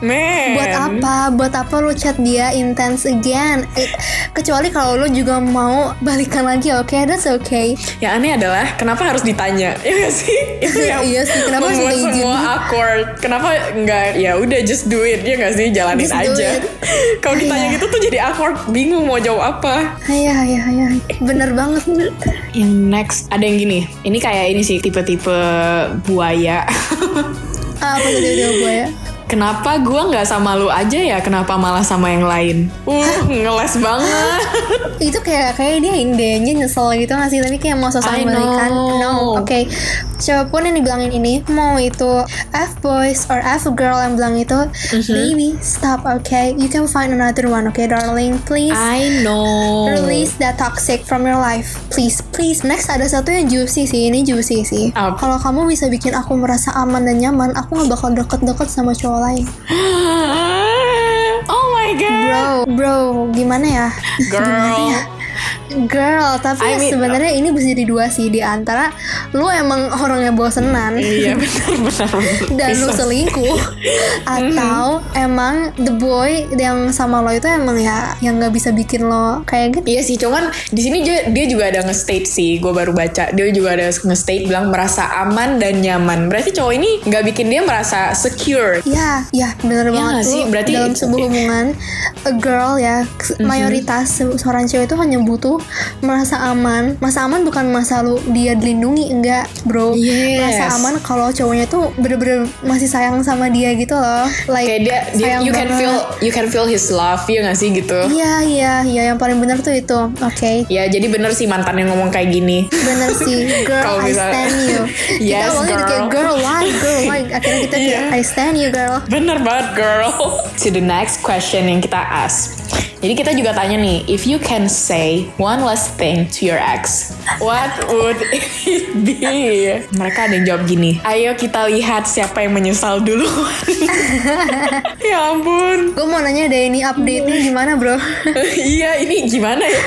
S2: man.
S1: Buat apa? Buat apa lu chat dia intens again? Eh, kecuali kalau lu juga mau balikan lagi, oke? That's okay.
S2: Yang aneh Ya, adalah kenapa harus ditanya? Ya nggak sih? Itu yang
S1: Iya sih, kenapa harus
S2: membuat
S1: minta izin?
S2: semua awkward. Kenapa nggak ya udah just do it ya nggak sih? Jalanin
S1: Just do
S2: aja.
S1: it.
S2: Kalau ditanya
S1: Iya.
S2: gitu tuh jadi awkward, bingung mau jawab apa.
S1: Ayah, ayah, ayah. Bener banget.
S2: Yang next ada yang gini. Ini kayak ini sih tipe-tipe buaya.
S1: Ah, Apa tadi udah gue ya?
S2: Kenapa gua nggak sama lu aja ya? Kenapa malah sama yang lain? Uh, ngeles banget.
S1: itu kayak kayak dia indenya nyesel gitu nggak sih tapi kayak mau
S2: I
S1: sosok
S2: know.
S1: balikan no oke siapapun yang dibilangin ini mau itu f boys or f girl yang bilang itu baby stop okay you can find another one okay darling please
S2: I know.
S1: Release that toxic from your life, please, please. Next ada satu yang juicy sih, ini juicy sih.
S2: Apa?
S1: Kalau kamu bisa bikin aku merasa aman dan nyaman, aku nggak bakal deket-deket sama cowok lain.
S2: Oh my god,
S1: Bro, bro, gimana ya?
S2: girl.
S1: Girl, tapi
S2: I mean-
S1: sebenarnya ini bisa jadi dua sih di antara lu emang orangnya bosenan
S2: Iya benar-benar.
S1: dan lu selingkuh atau
S2: Mm-hmm.
S1: emang the boy yang sama lo itu emang ya yang nggak bisa bikin lo kayak gitu.
S2: Iya sih, cuman di sini dia, dia juga ada nge-state sih, gue baru baca. Dia juga ada nge-state bilang merasa aman dan nyaman. Berarti cowok ini nggak bikin dia merasa secure.
S1: Ya, ya bener banget
S2: nggak
S1: Lu
S2: sih? Berarti- Mhm.
S1: dalam sebuah hubungan a girl ya mayoritas se- seorang cewek itu hanya butuh tuh merasa aman masa aman bukan masa lu dia dilindungi enggak bro
S2: Yes.
S1: masa aman kalau cowoknya tuh bener-bener masih sayang sama dia gitu loh like
S2: Kayak dia, dia
S1: sayang
S2: you can
S1: banget.
S2: feel you can feel his love ya gak sih gitu.
S1: iya iya iya yang paling bener tuh itu oke
S2: Ya jadi bener sih mantan yang ngomong kayak gini.
S1: bener sih girl
S2: Kalau
S1: I
S2: misalnya-
S1: stand you kita
S2: Yes, Iya.
S1: awalnya kayak girl why girl why akhirnya kita kayak I stand you girl
S2: Bener banget girl. to the next question yang kita ask. Jadi kita juga tanya nih, if you can say one last thing to your ex, what would it be? Mereka ada yang jawab gini, ayo kita lihat siapa yang menyesal dulu. ya ampun.
S1: gue mau nanya deh ini update-nya gimana bro
S2: iya ini gimana ya?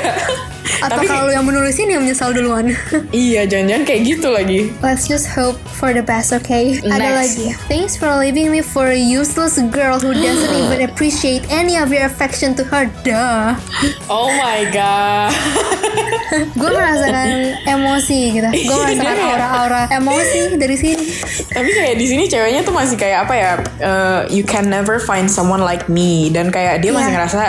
S1: atau
S2: Tapi
S1: kalau yang menulis ini yang menyesal duluan
S2: iya jangan-jangan kayak gitu lagi.
S1: Let's just hope for the best, okay? Ada
S2: Next.
S1: lagi. Thanks for leaving me for a useless girl who doesn't even appreciate any of your affection to her. Duh.
S2: Oh my god.
S1: Gue merasakan emosi gitu. Gue merasakan
S2: Iya.
S1: aura-aura emosi dari sini.
S2: Tapi kayak di sini ceweknya tuh masih kayak apa ya? uh, you can never find someone like me dan kayak dia masih
S1: Iya.
S2: ngerasa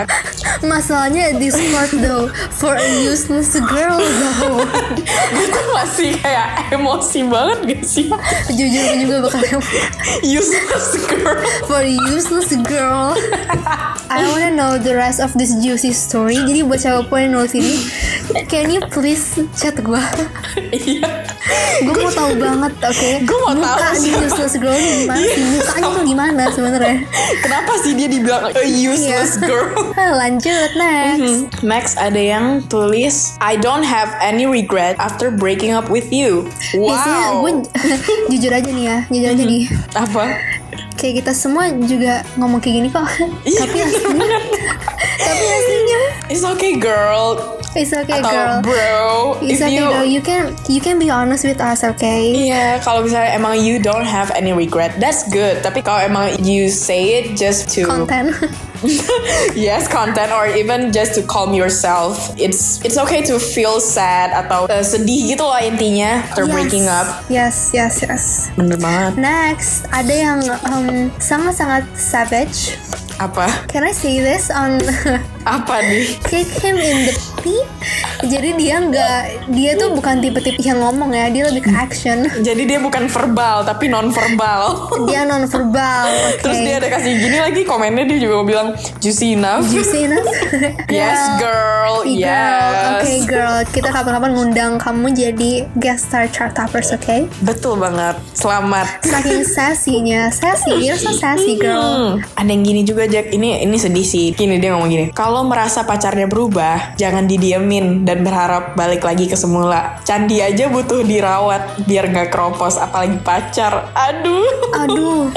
S1: Masalahnya this was though for a useless girl though.
S2: gue tuh masih kayak emosi banget gak sih?
S1: Jujur gue juga bakal emosi.
S2: Useless girl.
S1: for a useless girl. I wanna know the rest of this juicy story. Jadi buat siapapun yang nulis ini, can you please chat gue?
S2: Iya.
S1: gue mau tahu banget oke
S2: Gua mau
S1: muka
S2: tahu
S1: di
S2: siapa.
S1: useless girl ini gimana sih mukanya tuh gimana sebenarnya
S2: Kenapa sih dia dibilang a useless
S1: Iya.
S2: girl? Hmm,
S1: lanjut
S2: Mhm.
S1: next
S2: Max ada yang tulis I don't have any regret after breaking up with you.
S1: biasanya
S2: Wow. Mhm.
S1: gue jujur aja nih ya jujur aja nih
S2: apa?
S1: kayak kita semua juga ngomong kayak gini kok
S2: Iya,
S1: tapi
S2: bener
S1: aslinya
S2: banget.
S1: tapi aslinya
S2: It's okay girl
S1: it's okay
S2: atau
S1: girl
S2: bro.
S1: it's
S2: if
S1: okay
S2: you
S1: girl you can you can be honest with us okay
S2: Iya, kalau misalnya emang you don't have any regret, that's good. Tapi kalau emang you say it just to
S1: konten
S2: yes content or even just to calm yourself, it's it's okay to feel sad atau uh, sedih gitu loh intinya after breaking up.
S1: yes yes yes
S2: Bener banget.
S1: next ada yang um, sangat-sangat savage
S2: Apa?
S1: can I say this on
S2: Apa nih?
S1: kick him in the pee jadi dia nggak dia tuh bukan tipe-tipe yang ngomong ya dia lebih ke action
S2: Jadi dia bukan verbal tapi non verbal.
S1: dia non verbal oke
S2: Terus dia ada kasih gini lagi komennya dia juga bilang juicy enough.
S1: Juicy enough
S2: Yes
S1: Girl.
S2: girl.
S1: Hey, girl.
S2: Yes.
S1: Iya. Oke girl, kita kapan-kapan ngundang kamu jadi guest star chart toppers, oke?
S2: Betul banget. Selamat.
S1: Saking sassy-nya, sassy, you're so sassy girl.
S2: Hmm, ada yang gini juga Jack. Ini ini sedih sih. Gini dia ngomong gini. Kalau merasa pacarnya berubah, jangan didiemin dan berharap balik lagi ke semula. Candi aja butuh dirawat biar nggak keropos, apalagi pacar. Aduh.
S1: Aduh,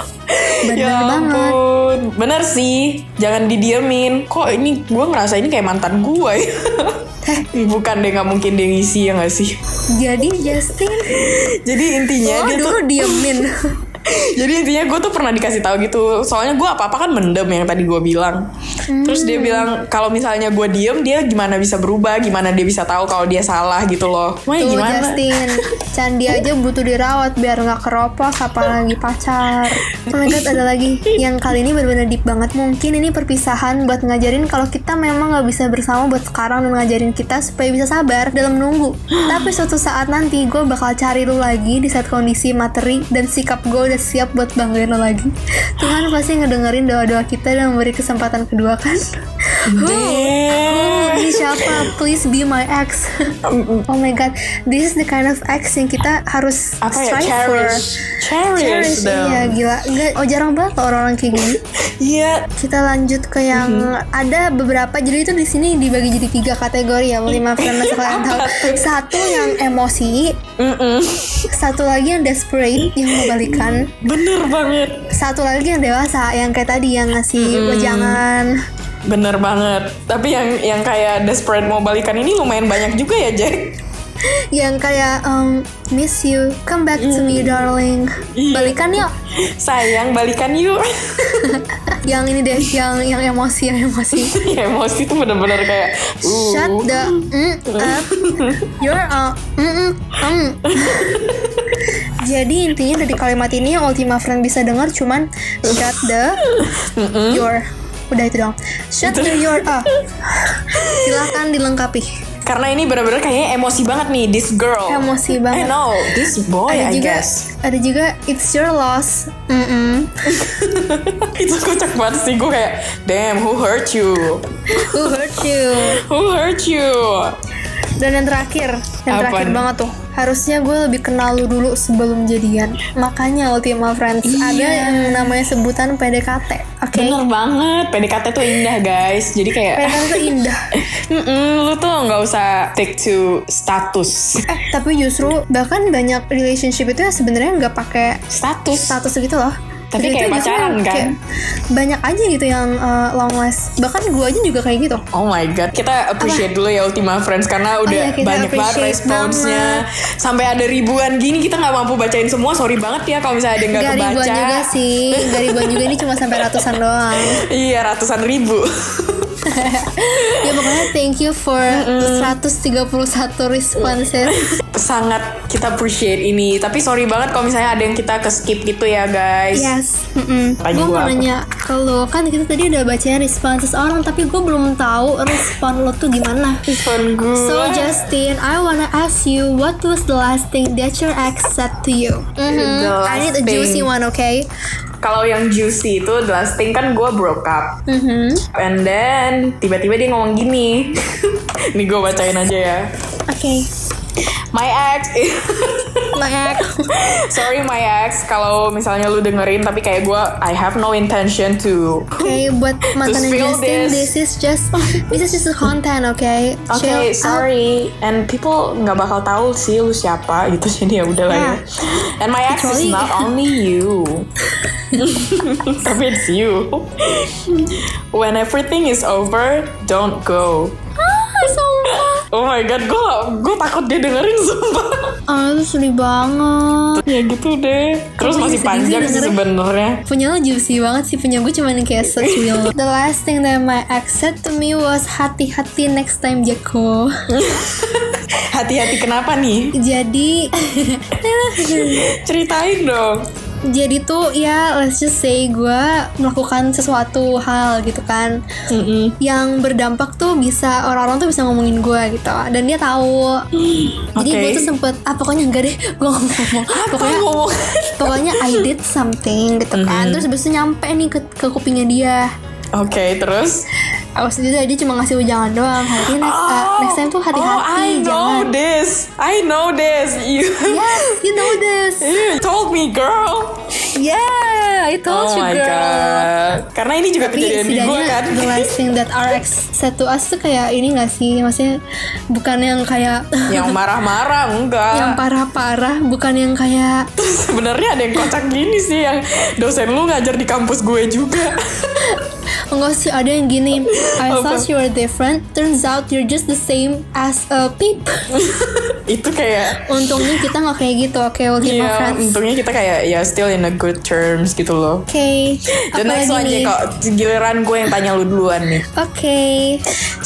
S1: bener
S2: Hmm. ya
S1: banget.
S2: ampun. Bener sih. Jangan didiemin. Kok ini gue ngerasa ini kayak mantan gue ya.
S1: Eh,
S2: Bukan deh nggak mungkin dia ngisi ya nggak sih.
S1: Jadi Justin,
S2: Jadi intinya
S1: lo
S2: dia tuh
S1: dulu diemin.
S2: Jadi intinya gue tuh pernah dikasih tahu gitu. Soalnya gue apa-apa kan mendem yang tadi gue bilang. Terus
S1: Hmm.
S2: dia bilang kalau misalnya gue diem dia gimana bisa berubah, gimana dia bisa tahu kalau dia salah gitu loh. Wah,
S1: Tuh
S2: gimana?
S1: Justin, candi aja butuh dirawat biar nggak keropos apalagi pacar. Oh my god, ada lagi yang kali ini benar-benar deep banget. Mungkin ini perpisahan buat ngajarin kalau kita memang nggak bisa bersama buat sekarang dan ngajarin kita supaya bisa sabar dalam nunggu. Tapi suatu saat nanti gue bakal cari lu lagi di saat kondisi materi dan sikap gue udah siap buat banggain lo lagi. Tuhan pasti ngedengerin doa-doa kita dan memberi kesempatan kedua kan.
S2: Damn.
S1: Ini siapa? Please be my ex. oh my god, this is the kind of ex yang kita harus
S2: Apa ya?
S1: strive
S2: Cherish.
S1: for.
S2: Cherish,
S1: Cherish,
S2: them.
S1: iya gila. Nggak, oh jarang banget loh orang-orang kayak gini.
S2: Iya.
S1: Kita lanjut ke yang
S2: Mm-hmm.
S1: ada beberapa. Jadi itu di sini dibagi jadi tiga kategori ya, lima friends kalian tahu. Satu yang emosi,
S2: Mm-mm.
S1: satu lagi yang desperate yang mau balikan,
S2: Bener banget.
S1: satu lagi yang dewasa yang kayak tadi yang
S2: Mm-hmm.
S1: ngasih wejangan.
S2: Bener banget. Tapi yang yang kayak desperate mau balikan ini lumayan banyak juga ya Jack.
S1: yang kayak um, miss you, come back to me
S2: Mm-hmm.
S1: darling.
S2: Iya.
S1: Balikan yuk.
S2: Sayang balikan yuk.
S1: Yang ini deh, yang yang emosi, yang emosi.
S2: Ya, Emosi tuh bener-bener kayak. uh.
S1: Shut the mm up. You're a mm mm mm. Jadi intinya dari kalimat ini yang Ultima Friend bisa dengar cuman shut the your udah itu dong. Shut the your up. Silahkan dilengkapi.
S2: Karena ini benar-benar kayaknya emosi banget nih this girl.
S1: Emosi
S2: I
S1: banget.
S2: know this boy
S1: ada
S2: Eh, I
S1: juga
S2: guess.
S1: ada juga it's your loss. Mm-mm.
S2: Itu kocak banget sih gue kayak damn who hurt you?
S1: Who hurt you?
S2: Who hurt you?
S1: Dan yang terakhir, yang
S2: Apa
S1: terakhir
S2: nih?
S1: banget tuh. Harusnya gue lebih kenal lu dulu sebelum jadian. Makanya Ultima Friends ada yang namanya sebutan PDKT. Oke.
S2: Iya. Bener banget. PDKT tuh indah guys. Jadi kayak
S1: PDKT itu indah.
S2: Mm-mm, lu tuh nggak usah take to status.
S1: Eh, tapi justru bahkan banyak relationship itu ya sebenarnya nggak pakai
S2: Status.
S1: status gitu loh.
S2: Tapi
S1: Jadi
S2: kayak
S1: itu justru
S2: pacaran, kan?
S1: kayak banyak aja gitu yang eh, long last. Bahkan gue aja juga kayak gitu.
S2: Oh my god, kita appreciate dulu ya Ultima Friends karena
S1: iya,
S2: udah
S1: kita
S2: banyak banget
S1: appreciate
S2: responsnya. Sampai ada ribuan gini kita nggak mampu bacain semua. Sorry banget ya kalau misalnya ada yang nggak
S1: Gak ribuan
S2: kebaca.
S1: juga sih, gak ribuan juga ini cuma sampai ratusan doang.
S2: Iya ratusan ribu.
S1: Ya pokoknya thank you for 131 responses.
S2: Sangat kita appreciate ini. Tapi sorry banget kalau misalnya ada yang kita ke skip gitu ya guys.
S1: Yes. Mm
S2: Tanya
S1: Gue
S2: gua
S1: mau
S2: apa?
S1: nanya ke lo kan kita tadi udah bacain responses orang tapi gue belum tahu respon lo tuh gimana.
S2: Respon gue.
S1: So Justin, I wanna ask you what was the last thing that your ex said to you?
S2: The
S1: I need a
S2: last
S1: juicy
S2: thing.
S1: one, okay?
S2: Kalau yang juicy itu the last thing kan gue broke up.
S1: Mhm.
S2: And then tiba-tiba dia ngomong gini. Nih gue bacain aja ya.
S1: Okay.
S2: My ex
S1: My ex.
S2: Sorry my ex kalau misalnya lu dengerin tapi kayak gue I have no intention to
S1: Okay, buat mantan
S2: spill
S1: Justin,
S2: this.
S1: this. is just this is just content, okay?
S2: Oke,
S1: Chill out.
S2: sorry. And people nggak bakal tahu sih lu siapa gitu. Jadi ya udah lah ya.
S1: Nah.
S2: And my ex is
S1: Kecuali-
S2: not only you. Tapi it's you. When everything is over, don't go.
S1: Ah, sumpah.
S2: Oh my god, gue gue takut dia dengerin sumpah.
S1: Ah, itu sedih banget.
S2: ya gitu deh. Terus
S1: Kamu
S2: masih
S1: sedih
S2: panjang
S1: sih
S2: sih
S1: dengerin.
S2: sebenarnya.
S1: Punya lo juicy banget sih, punya gue cuman kayak secuil. The last thing that my ex said to me was hati-hati next time Jeko.
S2: Hati-hati kenapa nih?
S1: Jadi
S2: Ceritain dong.
S1: jadi tuh ya let's just say gue melakukan sesuatu hal gitu kan yang berdampak tuh bisa orang-orang tuh bisa ngomongin gue gitu dan dia tahu jadi
S2: Oke.
S1: gue tuh sempet ah pokoknya enggak deh gue ngomong pokoknya
S2: ngomong?
S1: pokoknya I did something gitu kan terus habis itu nyampe nih ke, ke kupingnya dia
S2: Oke, terus.
S1: Awas itu dia cuma ngasih ujangan doang hati next, uh, next time tuh
S2: oh, I
S1: hati-hati
S2: know
S1: jangan
S2: this. I know this. You,
S1: yes you know this
S2: you told me, girl.
S1: yeah I told you girl
S2: Karena ini juga
S1: tapi
S2: Oh kejadian di gue
S1: setidaknya
S2: kan.
S1: the last thing that RX said to us tuh kayak ini gak sih maksudnya bukan yang kayak
S2: Yang marah-marah enggak.
S1: yang parah-parah bukan yang kayak
S2: Terus sebenarnya ada yang kocak gini sih yang dosen lu ngajar di kampus gue juga.
S1: enggak "Oh, sih ada yang gini I
S2: Apa?
S1: thought you were different turns out you're just the same as a peep
S2: Itu kayak
S1: untungnya kita nggak kayak gitu oke Ultima
S2: Iya,
S1: Friends oke
S2: untungnya kita kayak ya still in a good terms gitu loh. The
S1: apalagi
S2: next one
S1: nih?
S2: ya kok giliran gue yang tanya lu duluan nih.
S1: Oke,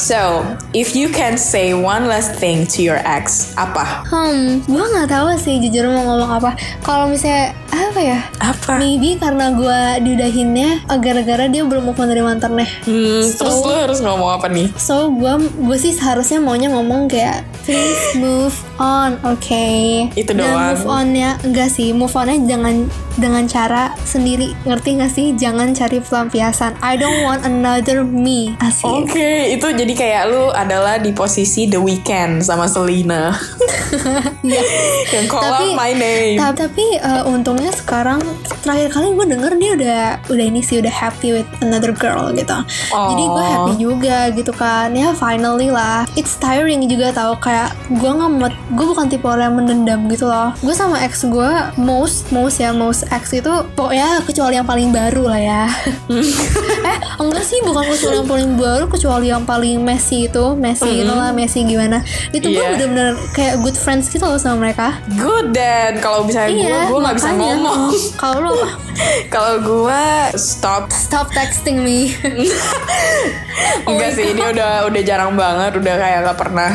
S2: So, if you can say one last thing to your ex, apa?
S1: hmm, gue nggak tahu sih jujur mau ngomong apa. Kalau misalnya apa ya?
S2: Apa?
S1: Maybe karena gue diudahinnya eh, gara-gara dia belum move on dari mantannya.
S2: Hmm, terus
S1: So-
S2: lu Iya. harus ngomong apa nih?
S1: So gue gue sih seharusnya maunya ngomong kayak please move on, oke?
S2: Itu
S1: Dan
S2: doang.
S1: move onnya enggak sih, move onnya jangan dengan cara sendiri, ngerti nggak sih? Jangan cari pelampiasan. I don't want another me, asik.
S2: Oke, itu jadi kayak lu adalah di posisi The Weeknd sama Selena.
S1: Iya.
S2: Yang call out my name.
S1: ta- tapi eh, untungnya sekarang terakhir kali gue denger dia udah udah ini sih udah happy with another girl gitu. Jadi gue
S2: Aw.
S1: happy juga gitu kan. Ya finally lah. It's tiring juga tau kayak gue nggak mau gue bukan tipe orang yang mendendam gitu loh. Gue sama ex gue most most ya most ex itu pokoknya kecuali yang paling baru lah ya. eh enggak sih bukan kecuali yang paling baru kecuali yang paling Messi itu Messi itu lah Messi gimana itu gue
S2: Mm-hmm. Iya.
S1: bener-bener kayak good friends gitu loh sama mereka
S2: Good dan kalau
S1: Kan
S2: misalnya gue gue nggak bisa
S1: Iya, makanya.
S2: ngomong.
S1: Kalau lu
S2: kalau gue stop.
S1: stop texting me.
S2: Enggak sih, ini udah udah jarang banget, udah kayak nggak pernah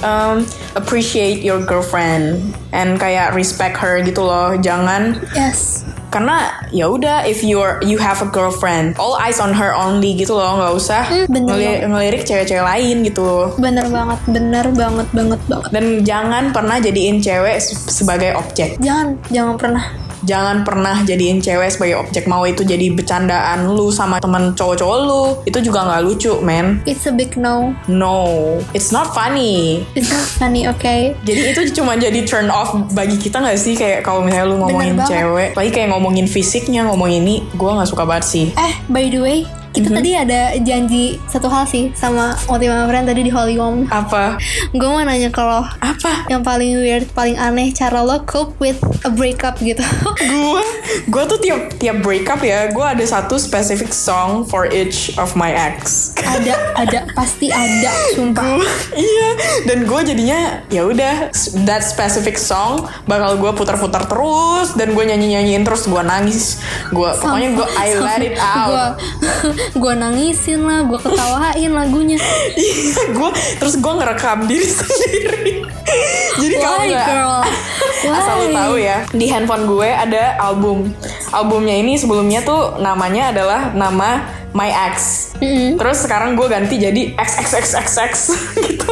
S2: um, appreciate your girlfriend and kayak respect her gitu loh. Jangan
S1: yes.
S2: karena ya udah if you're you have a girlfriend all eyes on her only gitu loh nggak usah
S1: Hmm, bener
S2: ngeli- ngelirik cewek-cewek lain gitu
S1: bener banget bener banget banget banget
S2: dan jangan pernah jadiin cewek se- sebagai objek
S1: jangan jangan pernah
S2: jangan pernah jadiin cewek sebagai objek mau itu jadi bercandaan lu sama teman cowok-cowok lu itu juga nggak lucu men
S1: it's a big no
S2: no it's not funny
S1: it's not funny okay
S2: jadi itu cuma jadi turn off bagi kita nggak sih kayak kalau misalnya lu ngomongin
S1: banget.
S2: cewek lagi kayak ngomongin fisiknya ngomongin ini gua nggak suka banget sih
S1: eh by the way kita tadi ada janji satu hal sih sama Ultima Friend tadi di Holy Womb
S2: apa
S1: gue mau nanya ke lo
S2: apa
S1: yang paling weird paling aneh cara lo cope with a breakup gitu
S2: gue gue tuh tiap tiap breakup ya gue ada satu specific song for each of my ex
S1: ada ada pasti ada sumpah
S2: Gua- iya dan gue jadinya ya udah s- that specific song bakal gue putar-putar terus dan gue nyanyi nyanyiin terus gue nangis gue pokoknya gue I let it out
S1: gue nangisin lah gue ketawain lagunya
S2: gue Iya, terus gue ngerekam diri sendiri jadi kalau
S1: why
S2: nggak-
S1: girl why
S2: Asal lu tahu ya, di handphone gue ada album. Albumnya ini sebelumnya tuh namanya adalah nama My Ex. Terus sekarang gue ganti jadi XXXXX gitu.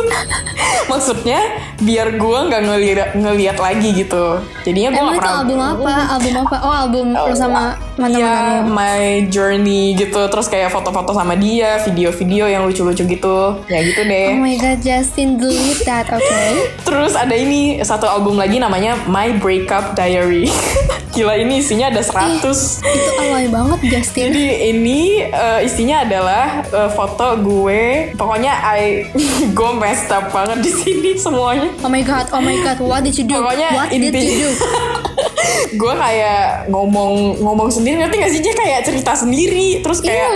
S2: Maksudnya biar gue nggak ngeliat, ngeliat lagi gitu. Jadinya gue
S1: Emang
S2: nggak
S1: itu
S2: pernah.
S1: album apa? Album apa? Oh album lo sama
S2: Iya,
S1: mantan-mantan lo.
S2: my journey gitu. Terus kayak foto-foto sama dia, video-video yang lucu-lucu gitu. Ya gitu
S1: Oh
S2: deh.
S1: my god, Justin delete that, oke?
S2: Terus ada ini satu album lagi namanya My Breakup Diary. Gila ini isinya ada 100
S1: Itu alay banget Justin.
S2: Jadi ini eh, isinya adalah eh, foto gue. Pokoknya I gue messed up banget di sini semuanya.
S1: Oh my god, oh my god, what did you do?
S2: Pokoknya
S1: what did
S2: inti-
S1: you do?
S2: gue kayak ngomong ngomong sendiri ngerti gak sih dia kayak cerita sendiri terus
S1: Ew,
S2: kayak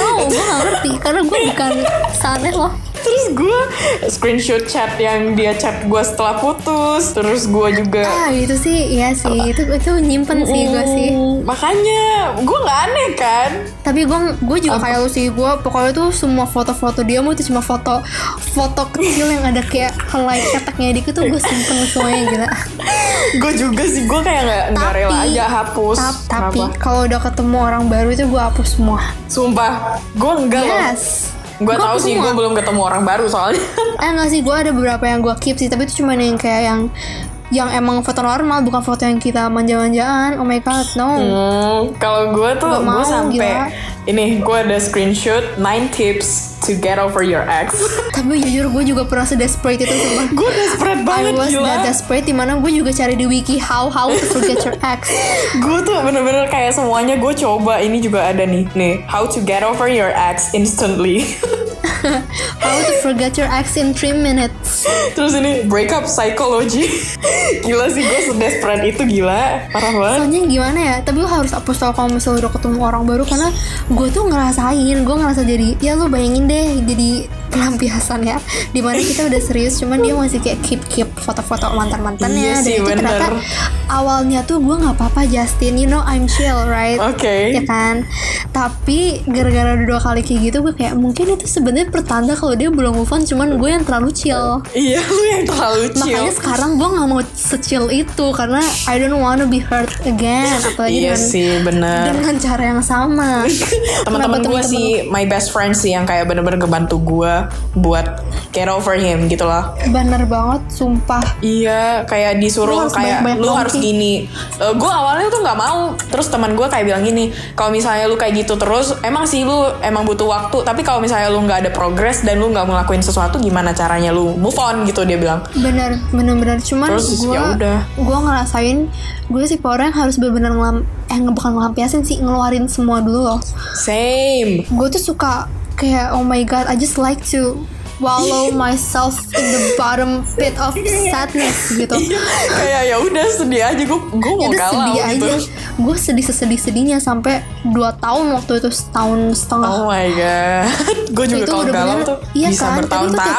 S1: no, gue gak ngerti karena gue bukan sana loh.
S2: terus gue screenshot chat yang dia chat gue setelah putus terus gue juga
S1: Ah itu sih, iya sih, itu itu nyimpen sih gue sih.
S2: Mm, makanya gue nggak aneh kan
S1: Tapi gue gue juga kayak lu sih, gue pokoknya tuh semua foto-foto dia mau itu cuma foto foto kecil yang ada kayak helai keteknya dikit tuh gue simpen semuanya gila.
S2: gue juga sih gue kayak nggak nggak rela aja hapus
S1: tap- tapi
S2: Kenapa?
S1: kalau udah ketemu orang baru itu gue hapus semua
S2: sumpah gue enggak loh.
S1: yes
S2: Gue
S1: Gua
S2: tahu sih,
S1: semua.
S2: gue belum ketemu orang baru soalnya.
S1: eh nggak sih gue ada beberapa yang gue keep sih tapi itu cuma yang kayak yang yang emang foto normal bukan foto yang kita manja-manjaan oh my god no
S2: Hmm, kalau gue tuh
S1: Gak
S2: gue
S1: mau, gila.
S2: sampai ini gue ada screenshot 9 tips to get over your ex.
S1: tapi jujur gue juga pernah sedesperate itu sumpah
S2: gue desperate
S1: I
S2: banget
S1: was that
S2: gila.
S1: desperate dimana gue juga cari di wiki how how to forget your ex
S2: Gue tuh bener-bener kayak semuanya gue coba. Ini juga ada nih, nih how to get over your ex instantly.
S1: how to forget your ex in 3 minutes
S2: Terus ini breakup psychology. gila sih gue sedesperate itu gila, parah banget.
S1: soalnya gimana ya tapi lo harus hapus tau kalau misalnya udah ketemu orang baru karena gue tuh ngerasain gue ngerasa jadi ya lo bayangin deh jadi pelampiasan ya dimana kita udah serius cuman dia masih kayak keep keep foto-foto mantan mantannya
S2: Iya
S1: dan
S2: sih,
S1: itu
S2: bener.
S1: ternyata awalnya tuh gue nggak apa-apa Justin you know I'm chill right
S2: Oke.
S1: ya kan tapi gara-gara udah dua kali kayak gitu gue kayak mungkin itu sebenarnya pertanda kalau dia belum move on cuman gue yang terlalu chill
S2: Iya lu yang terlalu chill.
S1: Makanya sekarang gue nggak mau secil itu karena I don't wanna be hurt again apalagi
S2: Iya
S1: dengan,
S2: sih bener.
S1: dengan cara yang sama.
S2: teman-teman
S1: Kenapa
S2: gue sih my best friend sih yang kayak bener-bener ngebantu gue buat get over him gitu loh
S1: bener banget, sumpah.
S2: iya
S1: Lu
S2: kayak disuruh
S1: harus
S2: kayak
S1: banyak-banyak
S2: lu
S1: nongki."
S2: harus gini gue awalnya tuh nggak mau terus teman gue kayak bilang gini kalau misalnya lu kayak gitu terus emang sih lu emang butuh waktu tapi kalau misalnya lu nggak ada progress dan lu nggak ngelakuin sesuatu gimana caranya lu move on gitu dia bilang
S1: Bener, bener-bener. Cuman
S2: Terus,
S1: gue
S2: ya udah.
S1: gue ngerasain gue sih orang yang harus bener-bener ngelam eh nge- bukan ngelampiasin sih ngeluarin semua dulu loh.
S2: same
S1: Gue tuh suka kayak oh my god I just like to wallow myself in the bottom pit of sadness gitu.
S2: kayak ya udah sedih aja gue gue mau
S1: udah Iya,
S2: galau
S1: sedih
S2: gitu
S1: aja gue sedih sesedih sedihnya sampai 2 tahun waktu itu setahun setengah
S2: Oh my god, gue juga
S1: itu
S2: kalau galau
S1: bener-bener-
S2: tuh
S1: iya
S2: bisa
S1: kan tapi itu tiap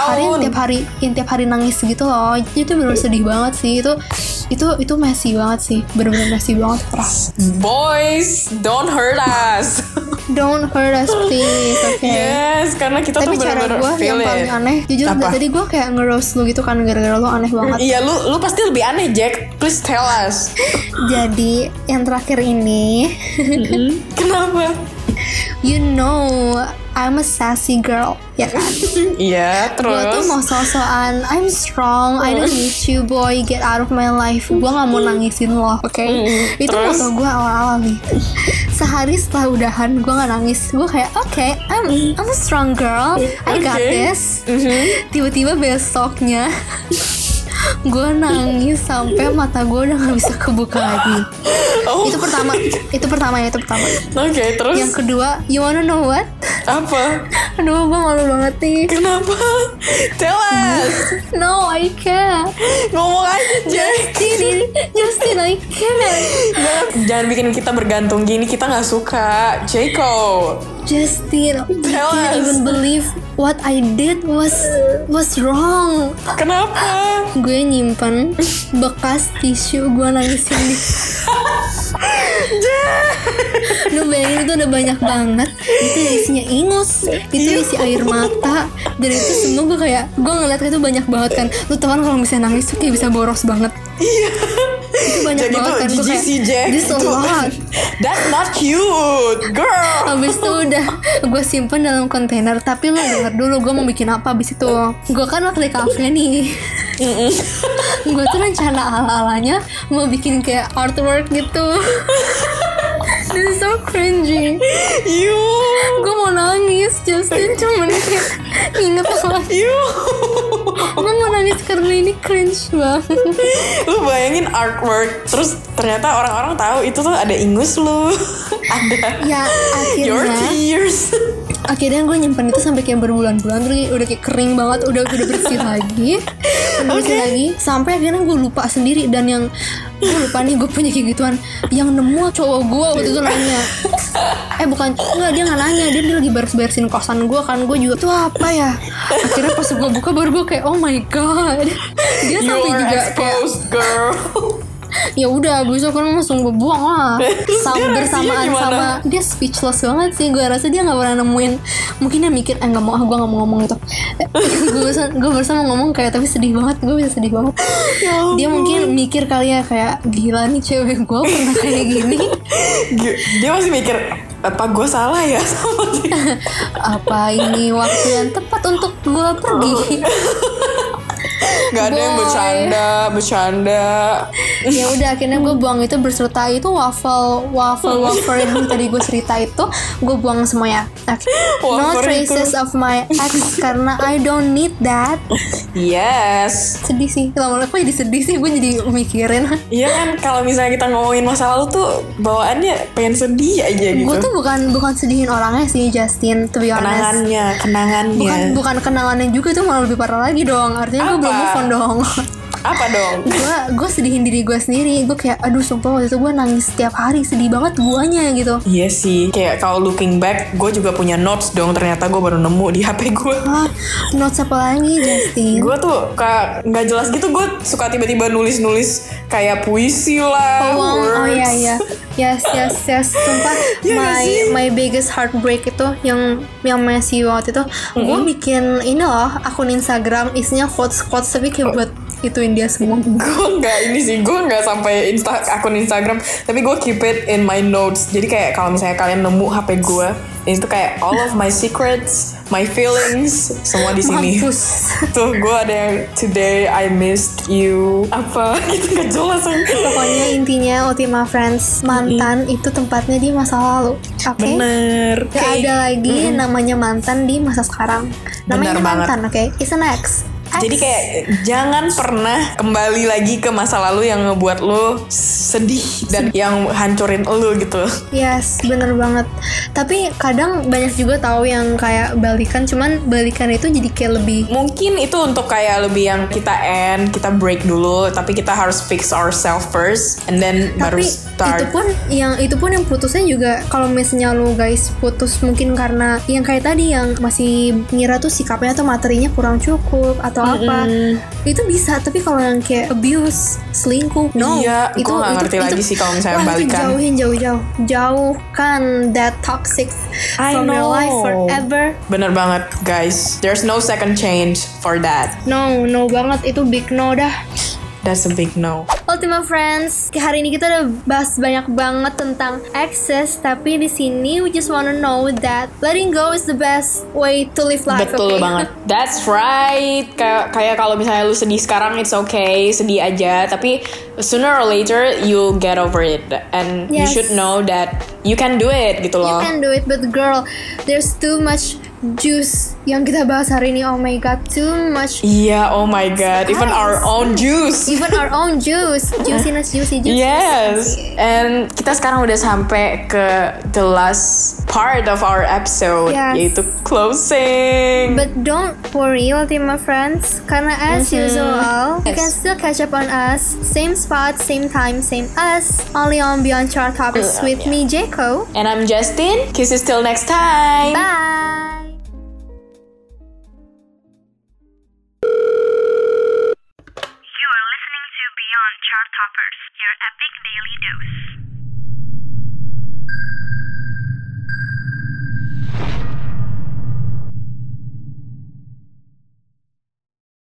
S1: hari
S2: bertahun-tahun.
S1: tiap hari yang tiap hari nangis gitu loh itu bener sedih banget sih itu itu itu messy banget sih bener-bener messy banget keras
S2: Boys, don't hurt us.
S1: don't hurt us please oke
S2: yes, karena kita
S1: tapi
S2: tuh
S1: cara
S2: benar-benar
S1: gue
S2: feel
S1: yang
S2: it.
S1: paling aneh jujur
S2: Apa?
S1: dari tadi gue kayak ngerose lu gitu kan gara-gara lu aneh banget
S2: Iya, lu lu pasti lebih aneh, Jack. Please tell us.
S1: jadi yang terakhir ini
S2: Kenapa?
S1: you know I'm a sassy girl ya kan
S2: Iya,
S1: gue tuh
S2: terus.
S1: mau sosokan I'm strong I don't need you boy get out of my life gue nggak mau nangisin lo oke itu
S2: Mm, Terus?
S1: moto gue awal-awal nih sehari setelah udahan gue nggak nangis gue kayak oke I'm I'm a strong girl I got
S2: Oke. Mm-hmm.
S1: this tiba-tiba besoknya gue nangis sampai mata gue udah nggak bisa kebuka lagi
S2: Oh,
S1: itu pertama itu pertama ya itu pertama
S2: Oke, terus
S1: yang kedua you wanna know what
S2: apa?
S1: aduh gue malu banget nih
S2: Kenapa? Tell us.
S1: no I can't
S2: Ngomong aja, Jack.
S1: Justin, Justin, I can't.
S2: Jangan, jangan bikin kita bergantung gini, kita nggak suka. Jaco.
S1: Justin, I
S2: Tell
S1: can't
S2: us.
S1: even believe what I did was was wrong.
S2: Kenapa?
S1: Gue nyimpen bekas tisu gue nangisin di. Lu bayangin itu udah banyak banget Itu isinya ingus Itu isi air mata Dan itu semua gue kayak Gue ngeliat itu banyak banget kan Lu tau kan kalau misalnya nangis tuh kayak bisa boros banget Iya Itu banyak
S2: Jadi itu
S1: banget kan Gue
S2: jijik
S1: kayak
S2: sih, Jack.
S1: This a
S2: Itu-
S1: lot
S2: That's not cute, girl.
S1: Abis itu udah gue simpen dalam kontainer Tapi lo denger dulu gue mau bikin apa abis itu Gue kan waktu di cafe nih Gue tuh rencana ala-alanya Mau bikin kayak artwork gitu This is so cringy
S2: You,
S1: Gue mau nangis Justin cuman kayak Ingat lagi
S2: you.
S1: Gue mau nangis karena ini cringe banget
S2: lu bayangin artwork, terus ternyata orang-orang tahu itu tuh ada ingus lu, ada
S1: Ya akhirnya
S2: your tears.
S1: akhirnya gue nyimpan itu sampai kayak berbulan-bulan terus udah kayak kering banget udah udah bersih lagi udah bersih lagi sampai akhirnya gue lupa sendiri dan yang gue lupa nih gue punya kayak gituan yang nemu cowok gue waktu itu nanya eh bukan enggak dia nggak nanya dia, dia lagi beres-beresin kosan gue kan gue juga tuh apa ya akhirnya pas gue buka baru gue kayak oh my god dia
S2: You
S1: sampai
S2: are
S1: juga kayak
S2: exposed, girl.
S1: ya udah besok kan langsung gue buang lah
S2: Terus
S1: sama
S2: dia reaksinya
S1: bersamaan
S2: gimana?
S1: sama dia speechless banget sih gue rasa dia nggak pernah nemuin mungkin dia mikir eh nggak mau ah gue nggak mau ngomong itu gue barusan gue barusan mau ngomong kayak tapi sedih banget gue bisa sedih banget
S2: Ya
S1: dia mungkin mikir kali ya kayak gila nih cewek gue pernah kayak gini
S2: Gi- Dia masih mikir apa gue salah ya sama dia.
S1: apa ini waktu yang tepat untuk gue pergi
S2: Gak ada yang
S1: Boy.
S2: bercanda, bercanda.
S1: ya udah akhirnya gue buang itu berserta itu waffle waffle
S2: Oh.
S1: wafer yang tadi gue cerita itu gue buang semuanya Oke. no
S2: Wafer itu.
S1: traces of my ex karena I don't need that
S2: Yes.
S1: sedih sih lama-lama gue jadi sedih sih gue jadi mikirin
S2: Iya kan kalau misalnya kita ngomongin masa lalu tuh bawaannya pengen sedih aja gitu.
S1: gue tuh bukan bukan sedihin orangnya sih Justin to be honest
S2: kenangannya, kenangannya.
S1: bukan bukan kenangannya juga tuh malah lebih parah lagi dong artinya gue
S2: Iya. Apa?
S1: belum move on dong
S2: Apa dong?
S1: gue gue sedihin diri gue sendiri gue kayak aduh sumpah waktu itu gue nangis setiap hari sedih banget guanya gitu
S2: Iya sih, kayak kalau looking back, gue juga punya notes dong. Ternyata gue baru nemu di HP gue.
S1: ah notes apa lagi Justin
S2: Gue tuh ka- nggak jelas gitu, gue suka tiba-tiba nulis-nulis kayak puisi lah,
S1: Uang,
S2: words.
S1: oh iya iya yes yes yes sumpah
S2: Iya gak
S1: my
S2: sih?
S1: my biggest heartbreak itu yang yang messy waktu itu gue bikin ini loh akun Instagram isinya quotes quotes tapi
S2: Oh.
S1: kayak buat ituin dia semua
S2: Gue nggak ini sih, gue nggak sampai insta akun Instagram, tapi gue keep it in my notes. Jadi kayak kalau misalnya kalian nemu HP gue, itu kayak all of my secrets, my feelings, semua di sini.
S1: mampus
S2: Tuh gue ada yang today I missed you apa gitu nggak jelas aja.
S1: pokoknya intinya Ultima Friends mantan itu tempatnya di masa lalu oke
S2: Bener.
S1: Gak ada lagi namanya mantan di masa sekarang. Namanya
S2: Benar
S1: ini
S2: banget.
S1: mantan, oke? It's an ex. Ex.
S2: Jadi kayak jangan pernah kembali lagi ke masa lalu yang ngebuat lo sedih dan yang hancurin lo gitu.
S1: yes, bener banget. Tapi kadang banyak juga tahu yang kayak balikan, cuman balikan itu jadi kayak lebih
S2: Mungkin itu untuk kayak lebih yang kita end, kita break dulu, tapi kita harus fix ourselves first and then baru
S1: tapi
S2: start.
S1: itu pun yang itu pun yang putusnya juga kalau misalnya lo guys putus mungkin karena yang kayak tadi yang masih ngira tuh sikapnya atau materinya kurang cukup atau atau apa itu bisa tapi kalau yang kayak abuse selingkuh no
S2: Iya, gua nggak ngerti lagi sih kalau
S1: wah,
S2: misalnya
S1: itu
S2: balikan.
S1: jauhin jauh jauh jauhkan that toxic
S2: I
S1: from your life
S2: know.
S1: forever
S2: Bener banget, guys. There's no second change for that.
S1: no no banget itu big no dah
S2: That's a big no.
S1: Ultima Friends, hari ini kita udah bahas banyak banget tentang access, tapi di sini we just wanna know that letting go is the best way to live life. okay?
S2: Betul banget. That's right. Kayak kayak kalau misalnya lu sedih sekarang it's okay, sedih aja, tapi sooner or later you'll get over it and you
S1: Yes.
S2: should know that you can do it gitu
S1: You
S2: loh.
S1: can do it, but girl, there's too much juice yang kita bahas hari ini. Oh my god, too much.
S2: Iya, oh my god, even our own juice.
S1: Even our own juice, juiciness, juicy, juicy.
S2: Yes, and kita sekarang udah sampai ke the last part of our episode
S1: Yes.
S2: yaitu closing.
S1: But don't worry, Ultima friends, karena as usual, you can
S2: Yes.
S1: still catch up on us. Same spot, same time, same us. Only on Beyond Chart Topics with me, Jayco.
S2: and I'm Justin. Kisses till next time.
S1: Bye.